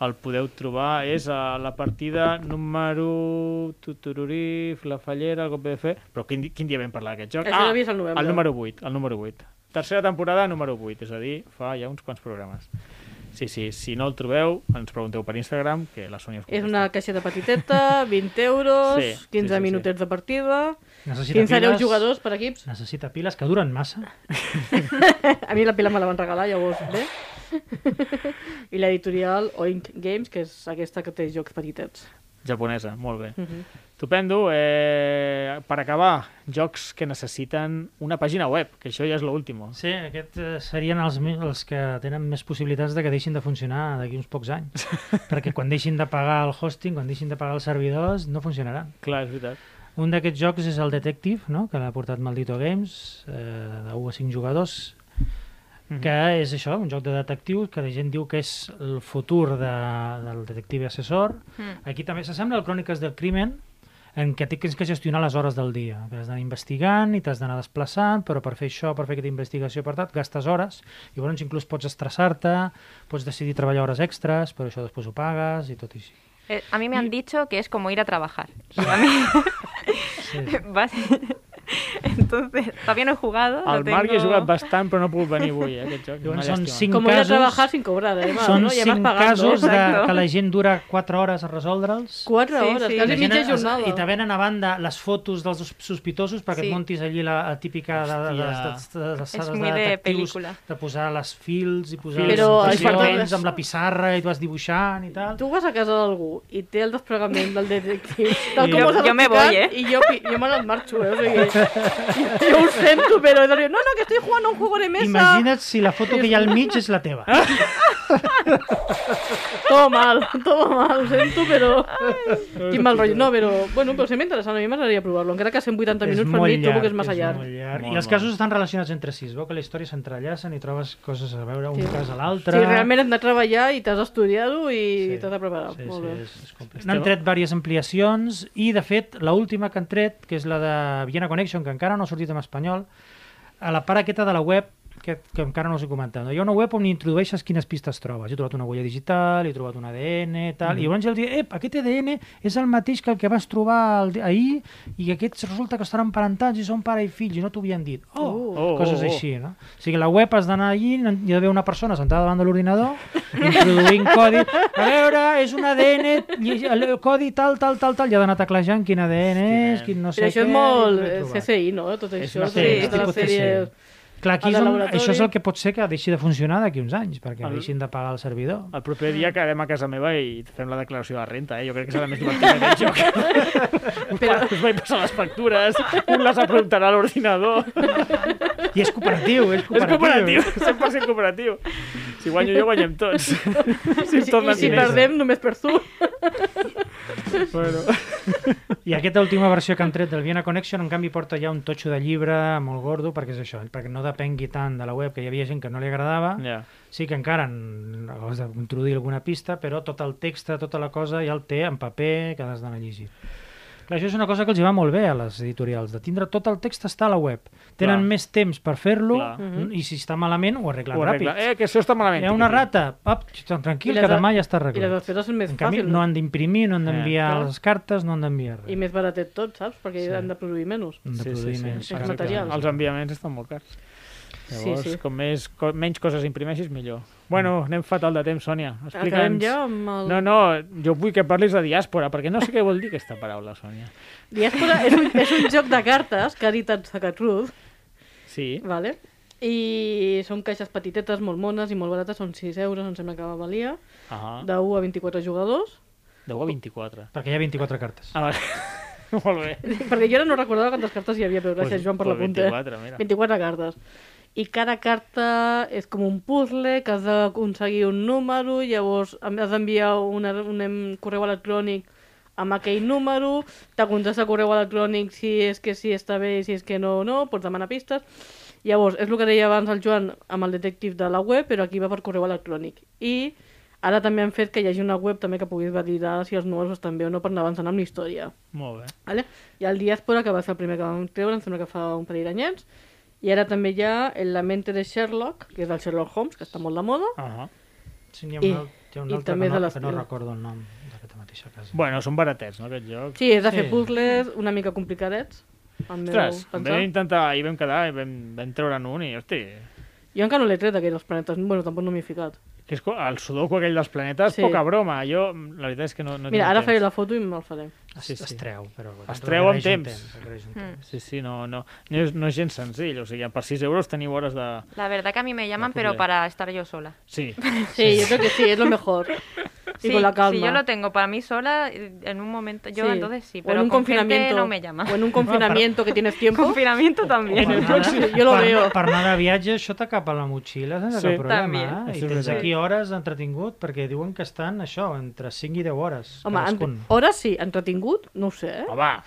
el podeu trobar, és a la partida número... Tutururí, la fallera, el cop de fer... Però quin, di- quin dia vam parlar d'aquest joc? Ah,
Això l'he vist al novembre.
El número 8, el número 8. Tercera temporada, número 8, és a dir, fa ja uns quants programes. Sí, sí, si no el trobeu, ens pregunteu per Instagram, que la Sònia us
És
contesta.
una caixeta petiteta, 20 euros,
Sí, sí,
15
sí, sí.
minutets de partida,
Necessita
15
piles,
deu jugadors per equips.
Necessita piles que duren massa.
A mi la pila me la van regalar, llavors, bé. I l'editorial Oink Games, que és aquesta que té jocs petitets.
Japonesa, molt bé.
Mhm.
Estupendo. Eh, per acabar, jocs que necessiten una pàgina web, que això ja és l'últim.
Sí, aquests eh, serien els, me- els que tenen més possibilitats de que deixin de funcionar d'aquí uns pocs anys. Perquè quan deixin de pagar el hosting, quan deixin de pagar els servidors, no funcionarà.
Clar, és veritat.
Un d'aquests jocs és el Detective, no? que l'ha portat Maldito Games, eh, de 1 a 5 jugadors,
Mhm.
que és això, un joc de detectius que la gent diu que és el futur de, del detective assessor.
Mhm.
Mm.
Aquí també s'assembla al Cròniques del Crimen, en què tens que gestionar les hores del dia. que Has d'anar investigant i t'has d'anar desplaçant, però per fer això, per fer aquesta investigació, per tant, gastes hores. I llavors inclús pots estressar-te, pots decidir treballar hores extres, però això després ho pagues i tot i així.
Eh, a mí me han dicho que es como ir a trabajar. Y a mí
Sí.
vas- Entonces, todavía no he jugado. lo
Ah,
Al Marc hi he
tengo-
jugat bastant, però no puc venir avui, eh, aquest joc.
Llavors
Una
són
llàstima.
cinc
Com ir a
casos...
treballar sin cobrar, además,
Són
no? I además
cinc
pagando.
casos de,
eh?
Exacto.
que la gent dura 4 hores a resoldre'ls.
4
Sí,
hores,
sí.
La
quasi
gent
mitja
es-
jornada.
I te venen a banda les fotos dels sus- sospitosos perquè
Sí.
et montis allí la, la típica de, de, de, de, de, de, de,
És
de,
muy de
detectius,
película.
de posar les fils i posar
Però
les
això
impressions
no-
amb la pissarra i tu vas dibuixant i tal.
Tu vas a casa d'algú i té el desplegament del detectiu tal com
Jo-
us ha
jo me
explicat,
voy, eh.
i jo, pi- jo me n'en marxo, eh? O sigui, jo ho sento, però he de dir, no, no, que estoy jugando a un juego de mesa.
Imagina't si la foto que hi ha al mig és la teva.
Ah, Todo mal, todo mal, ho sento, però...
Ah.
Quin mal rotllo. No, però, bueno, però sembla interessant, a mi m'agradaria provar-lo, encara que 180 minuts per mi trobo que és massa llarg.
molt llarg.
Molt,
I els
molt.
casos estan relacionats entre si. Es veu que la història s'entrellacen i trobes coses a veure un
Sí.
cas a
Si
l'altre.
sí, realment hem de treballar i t'has d'estudiar-ho i
Sí.
t'has de preparar.
Sí,
Molt
sí,
bé.
és, és complex. N'han tret diverses ampliacions i, de fet, la última que han tret, que és la de Viena Connection, que encara no ha sortit en espanyol, a la part aquesta de la web, que, que encara no us he comentat, no? hi ha una web on introdueixes quines pistes trobes. He trobat una huella digital, he trobat un ADN, tal, mm. i llavors el dic, ep, aquest ADN és el mateix que el que vas trobar el, di- ahir i aquests resulta que estan emparentats i són pare i fills i no t'ho havien dit. Oh!
Uh.
Oh, oh,
coses
oh.
així, no? O sigui, la web has d'anar allí, n- hi ha d'haver una persona sentada davant de l'ordinador, introduint codi, a veure, és un ADN, lli- el codi tal, tal, tal, tal, i ha d'anar teclejant quin ADN és, quin no sé
Però això
què...
és molt
i
eh,
l'he trobat.
CSI, no? Tot
És
això,
una
tot
sèrie,
tota la
tipus
sèrie...
CSI. Clar, aquí
al
és on,
laboratori.
això és el que pot ser que deixi de funcionar d'aquí uns anys, perquè
El-
deixin de pagar el servidor.
El proper dia quedarem a casa meva i fem la declaració de renta, eh? Jo crec que serà més divertit aquest joc. Però... Us vaig passar les factures, un les apuntarà a l'ordinador.
I és cooperatiu, és
És cooperatiu,
cooperatiu.
100% cooperatiu. Si guanyo jo, guanyem tots. Si
I,
em tornen
i si
diners.
perdem, només per tu.
Bueno.
I aquesta última versió que han tret del Viena Connection, en canvi, porta ja un totxo de llibre molt gordo, perquè és això, perquè no depengui tant de la web, que hi havia gent que no li agradava,
Ja.
Sí que encara en- has d'introduir alguna pista, però tot el text, tota la cosa ja el té en paper que has d'anar a llegir. Clar, això és una cosa que els hi va molt bé a les editorials, de tindre tot el text està a la web. Tenen
Clar.
més temps per fer-lo
Clar.
Mhm.
mm, i si està malament ho arreglen
Ho
ràpid.
arregla. Eh, que això està malament.
Hi ha una rata, pap, tranquil,
I les
que
a-
demà ja està
I les
arreglat.
despeses són més
En canvi,
fàcils.
no han d'imprimir, no
Eh,
han d'enviar
Clar.
les cartes, no han d'enviar
I
res.
més baratet tot, saps? Perquè
Sí.
han de produir menys.
Han de
Sí, sí,
produir
sí.
menys
Sí,
Els
cartes.
materials.
Els enviaments estan molt cars.
Sí,
Llavors,
sí.
com més, co menys coses imprimeixis, millor.
Mm.
Bueno, anem fatal de temps, Sònia.
Acabem
Explica'ns...
ja amb el...
No, no, jo vull que parlis de diàspora, perquè no sé què vol dir aquesta paraula, Sònia.
Diàspora és un, és un joc de cartes que ha dit en Zacatruz,
Sí,
vale? i són caixes petitetes, molt mones i molt barates, són 6 euros, em sembla que valia,
ah,
de 1 a 24 jugadors,
10 a 24.
Perquè hi ha 24 cartes.
Ah, vale. Molt bé.
Perquè jo ara no recordava quantes cartes hi havia, però gràcies,
Pues-
Joan, per
pues
la punta.
24, mira.
24 cartes. I cada carta és com un puzzle, que has d'aconseguir un número, llavors em- has d'enviar una- un em- correu electrònic amb aquell número, te contesta el correu electrònic si és que sí està bé, si és que no, no, pots demanar pistes. Llavors, és el que deia abans el Joan amb el detectiu de la web, però aquí va per correu electrònic. I ara també han fet que hi hagi una web també que puguis validar si els números estan bé o no per anar avançant amb la història.
Molt bé.
Vale? I el Diàspora, que va ser el primer que vam treure, em sembla que fa un parell d'anyets. I ara també hi ha el La mente de Sherlock, que és del Sherlock Holmes, que està molt de moda.
Uh -huh.
Sí, n'hi ha
I-
un, al- hi ha un
i
altre
també
que
de
no,
les-
que no recordo el nom d'aquesta mateixa casa.
Bueno, són baratets, no, aquests jocs?
Sí, és de fer
Sí.
puzzles una mica complicadets. al meu
Ostres,
pensar.
vam intentar, hi vam quedar i vam, vam treure'n un i, hosti,
Jo encara no l'he tret, aquell dels planetes. Bueno, tampoc no m'hi he ficat.
que és co- el sudoku aquell dels planetes,
Sí.
poca broma. Jo, la veritat és que no, no
Mira,
tinc
ara
temps.
faré la foto i me'l faré.
es,
sí, sí.
es treu, però... Bueno,
Es treu amb
requereix un
temps.
requereix
Mm.
un temps.
Sí, sí, no, no, no, és, no és gens senzill. O sigui, per 6 euros teniu hores de...
La verdad que a mí me llaman,
No,
pero
Julia.
para estar yo sola.
Sí,
Sí, yo creo que sí, es lo mejor. Y
Sí,
con la calma.
Si yo lo tengo para mí sola, eh, en un momento, yo
Sí.
entonces sí,
O
pero
en un
con
confinamiento.
gente no me llama.
O en un confinamiento que tienes tiempo.
Confinamiento
Per
también.
anar-
pròxim- jo lo
per-
veo.
Per anar de viatge, això t'acapa la motxilla, sense
Sí.
cap problema.
També.
Eh?
Això
I
és
tens
veritat.
aquí hores d'entretingut, perquè diuen que estan, això, entre 5 i 10 hores.
Home,
cadascun.
ent... ara sí, entretingut, no ho sé, eh?
home,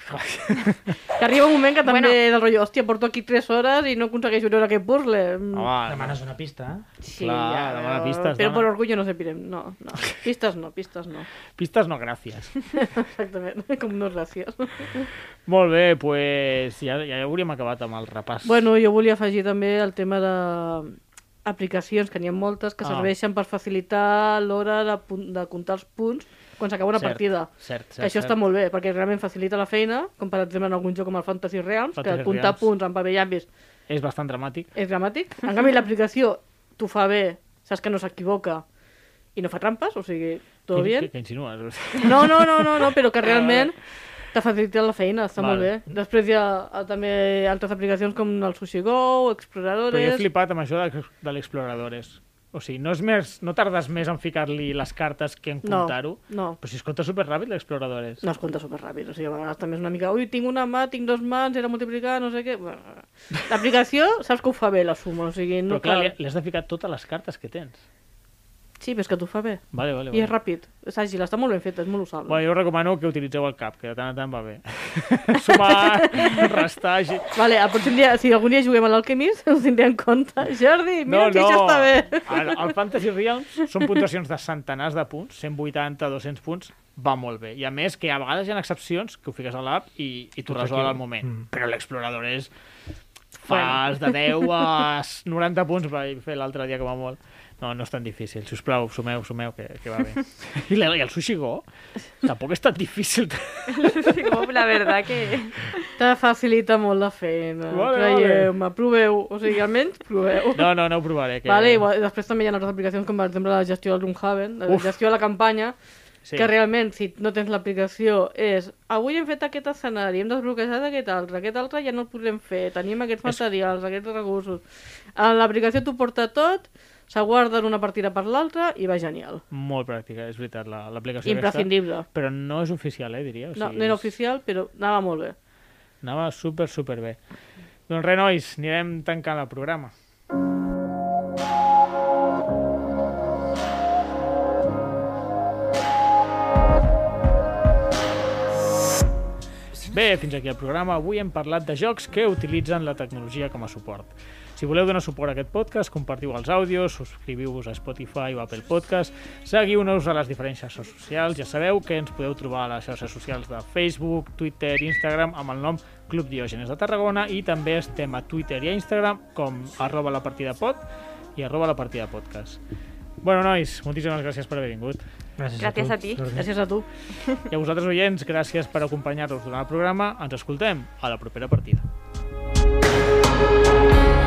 Que arriba un moment que també
Bueno.
bueno. del rotllo, hòstia, porto aquí 3 hores i no aconsegueixo veure aquest puzzle. Mm,
home,
Demanes una pista, eh?
sí,
clar, demana
però-
pistes,
Però
dona.
per orgullo no sé, pirem. No, no. Pistes no, pistes no.
pistes no, gràcies.
Exactament, com no gràcies.
Molt bé, doncs pues, ja, ja hauríem acabat amb el repàs.
Bueno, jo volia afegir també el tema de aplicacions, que n'hi ha moltes, que
Ah.
serveixen per facilitar l'hora de, pun- de comptar els punts quan s'acaba una
Cert,
partida.
Cert, cert,
Que això
cert.
està molt bé, perquè realment facilita la feina, com per exemple en algun joc com el Fantasy Realms,
Fantasy
que comptar
Realms.
punts en paper i llambis
És bastant dramàtic.
és dramàtic. En canvi, l'aplicació t'ho fa bé, saps que no s'equivoca i no fa trampes, o sigui, tot
Què-
bé.
Què, què insinues?
No, no, no, no, no, però que realment t'ha facilitat la feina, està
Ah, Vale.
molt bé. Després hi ha eh, també altres aplicacions com el Sushi Go,
Però jo he
Exploradores...
flipat amb això de, de l'exploradores. O sigui, no, és més, no tardes més en ficar-li les cartes que en
No,
comptar-ho.
no.
Però si es compta superràpid, l'exploradores.
No es compta superràpid, o sigui, a vegades també és una mica ui, tinc una mà, tinc dos mans, era multiplicar, no sé què... Bueno, L'aplicació saps que ho fa bé, la suma, o sigui,
Però
no
clar, li,
cal...
li has de ficar totes les cartes que tens.
Sí, però és que t'ho fa bé.
Vale, vale,
I és
vale.
ràpid, és àgil, està molt ben fet, és molt usable.
Bueno, jo us recomano que utilitzeu el cap, que de tant en tant va bé. Sumar, restar, així.
Vale, el pròxim dia, si algun dia juguem a l'Alchemist, us tindré en compte. Jordi, mira no, que això està bé.
El, el Fantasy Realms són puntuacions de centenars de punts, 180, 200 punts, va molt bé. I a més, que a vegades hi ha excepcions, que ho fiques a l'app i, i t'ho resol al moment. Mm. Però l'explorador és... Fas de 10 a 90 punts, vaig fer l'altre dia com a molt. No, no és tan difícil. Si us plau, sumeu, sumeu, que, que va bé. I, la, I el Sushi Go tampoc és tan difícil.
La verdad que...
Te facilita molt la feina.
Vale,
Traieu-me, proveu. O sigui, almenys proveu.
No, no, no ho provaré. Que...
Vale, igual, després també hi ha altres aplicacions com per exemple la gestió del Runhaven, la
Uf.
gestió de la campanya,
Sí.
que realment si no tens l'aplicació és avui hem fet aquest escenari, hem desbloquejat aquest altre, aquest altre ja no el podrem fer, tenim aquests materials, aquests recursos. A L'aplicació t'ho porta tot, se guarda en una partida per l'altra i va genial.
Molt pràctica, és veritat, la- l'aplicació
Imprescindible.
Aquesta, però no és oficial, eh, diria. O
No,
sigui,
no era
és-
oficial, però anava molt bé.
Anava super, super bé. Doncs res, nois, anirem tancant el programa. Bé, fins aquí el programa. Avui hem parlat de jocs que utilitzen la tecnologia com a suport. Si voleu donar suport a aquest podcast, compartiu els àudios, subscriviu-vos a Spotify o Apple Podcast, seguiu-nos a les diferents xarxes socials. Ja sabeu que ens podeu trobar a les xarxes socials de Facebook, Twitter, Instagram amb el nom Club Diògenes de Tarragona i també estem a Twitter i a Instagram com arroba la partida pod i arroba la partida podcast. Bueno, nois, moltíssimes gràcies per haver vingut.
Gràcies,
Gràcies a
tu,
ti.
Jordi.
Gràcies a tu.
I a vosaltres, oients, gràcies per acompanyar-nos durant el programa. Ens escoltem a la propera partida.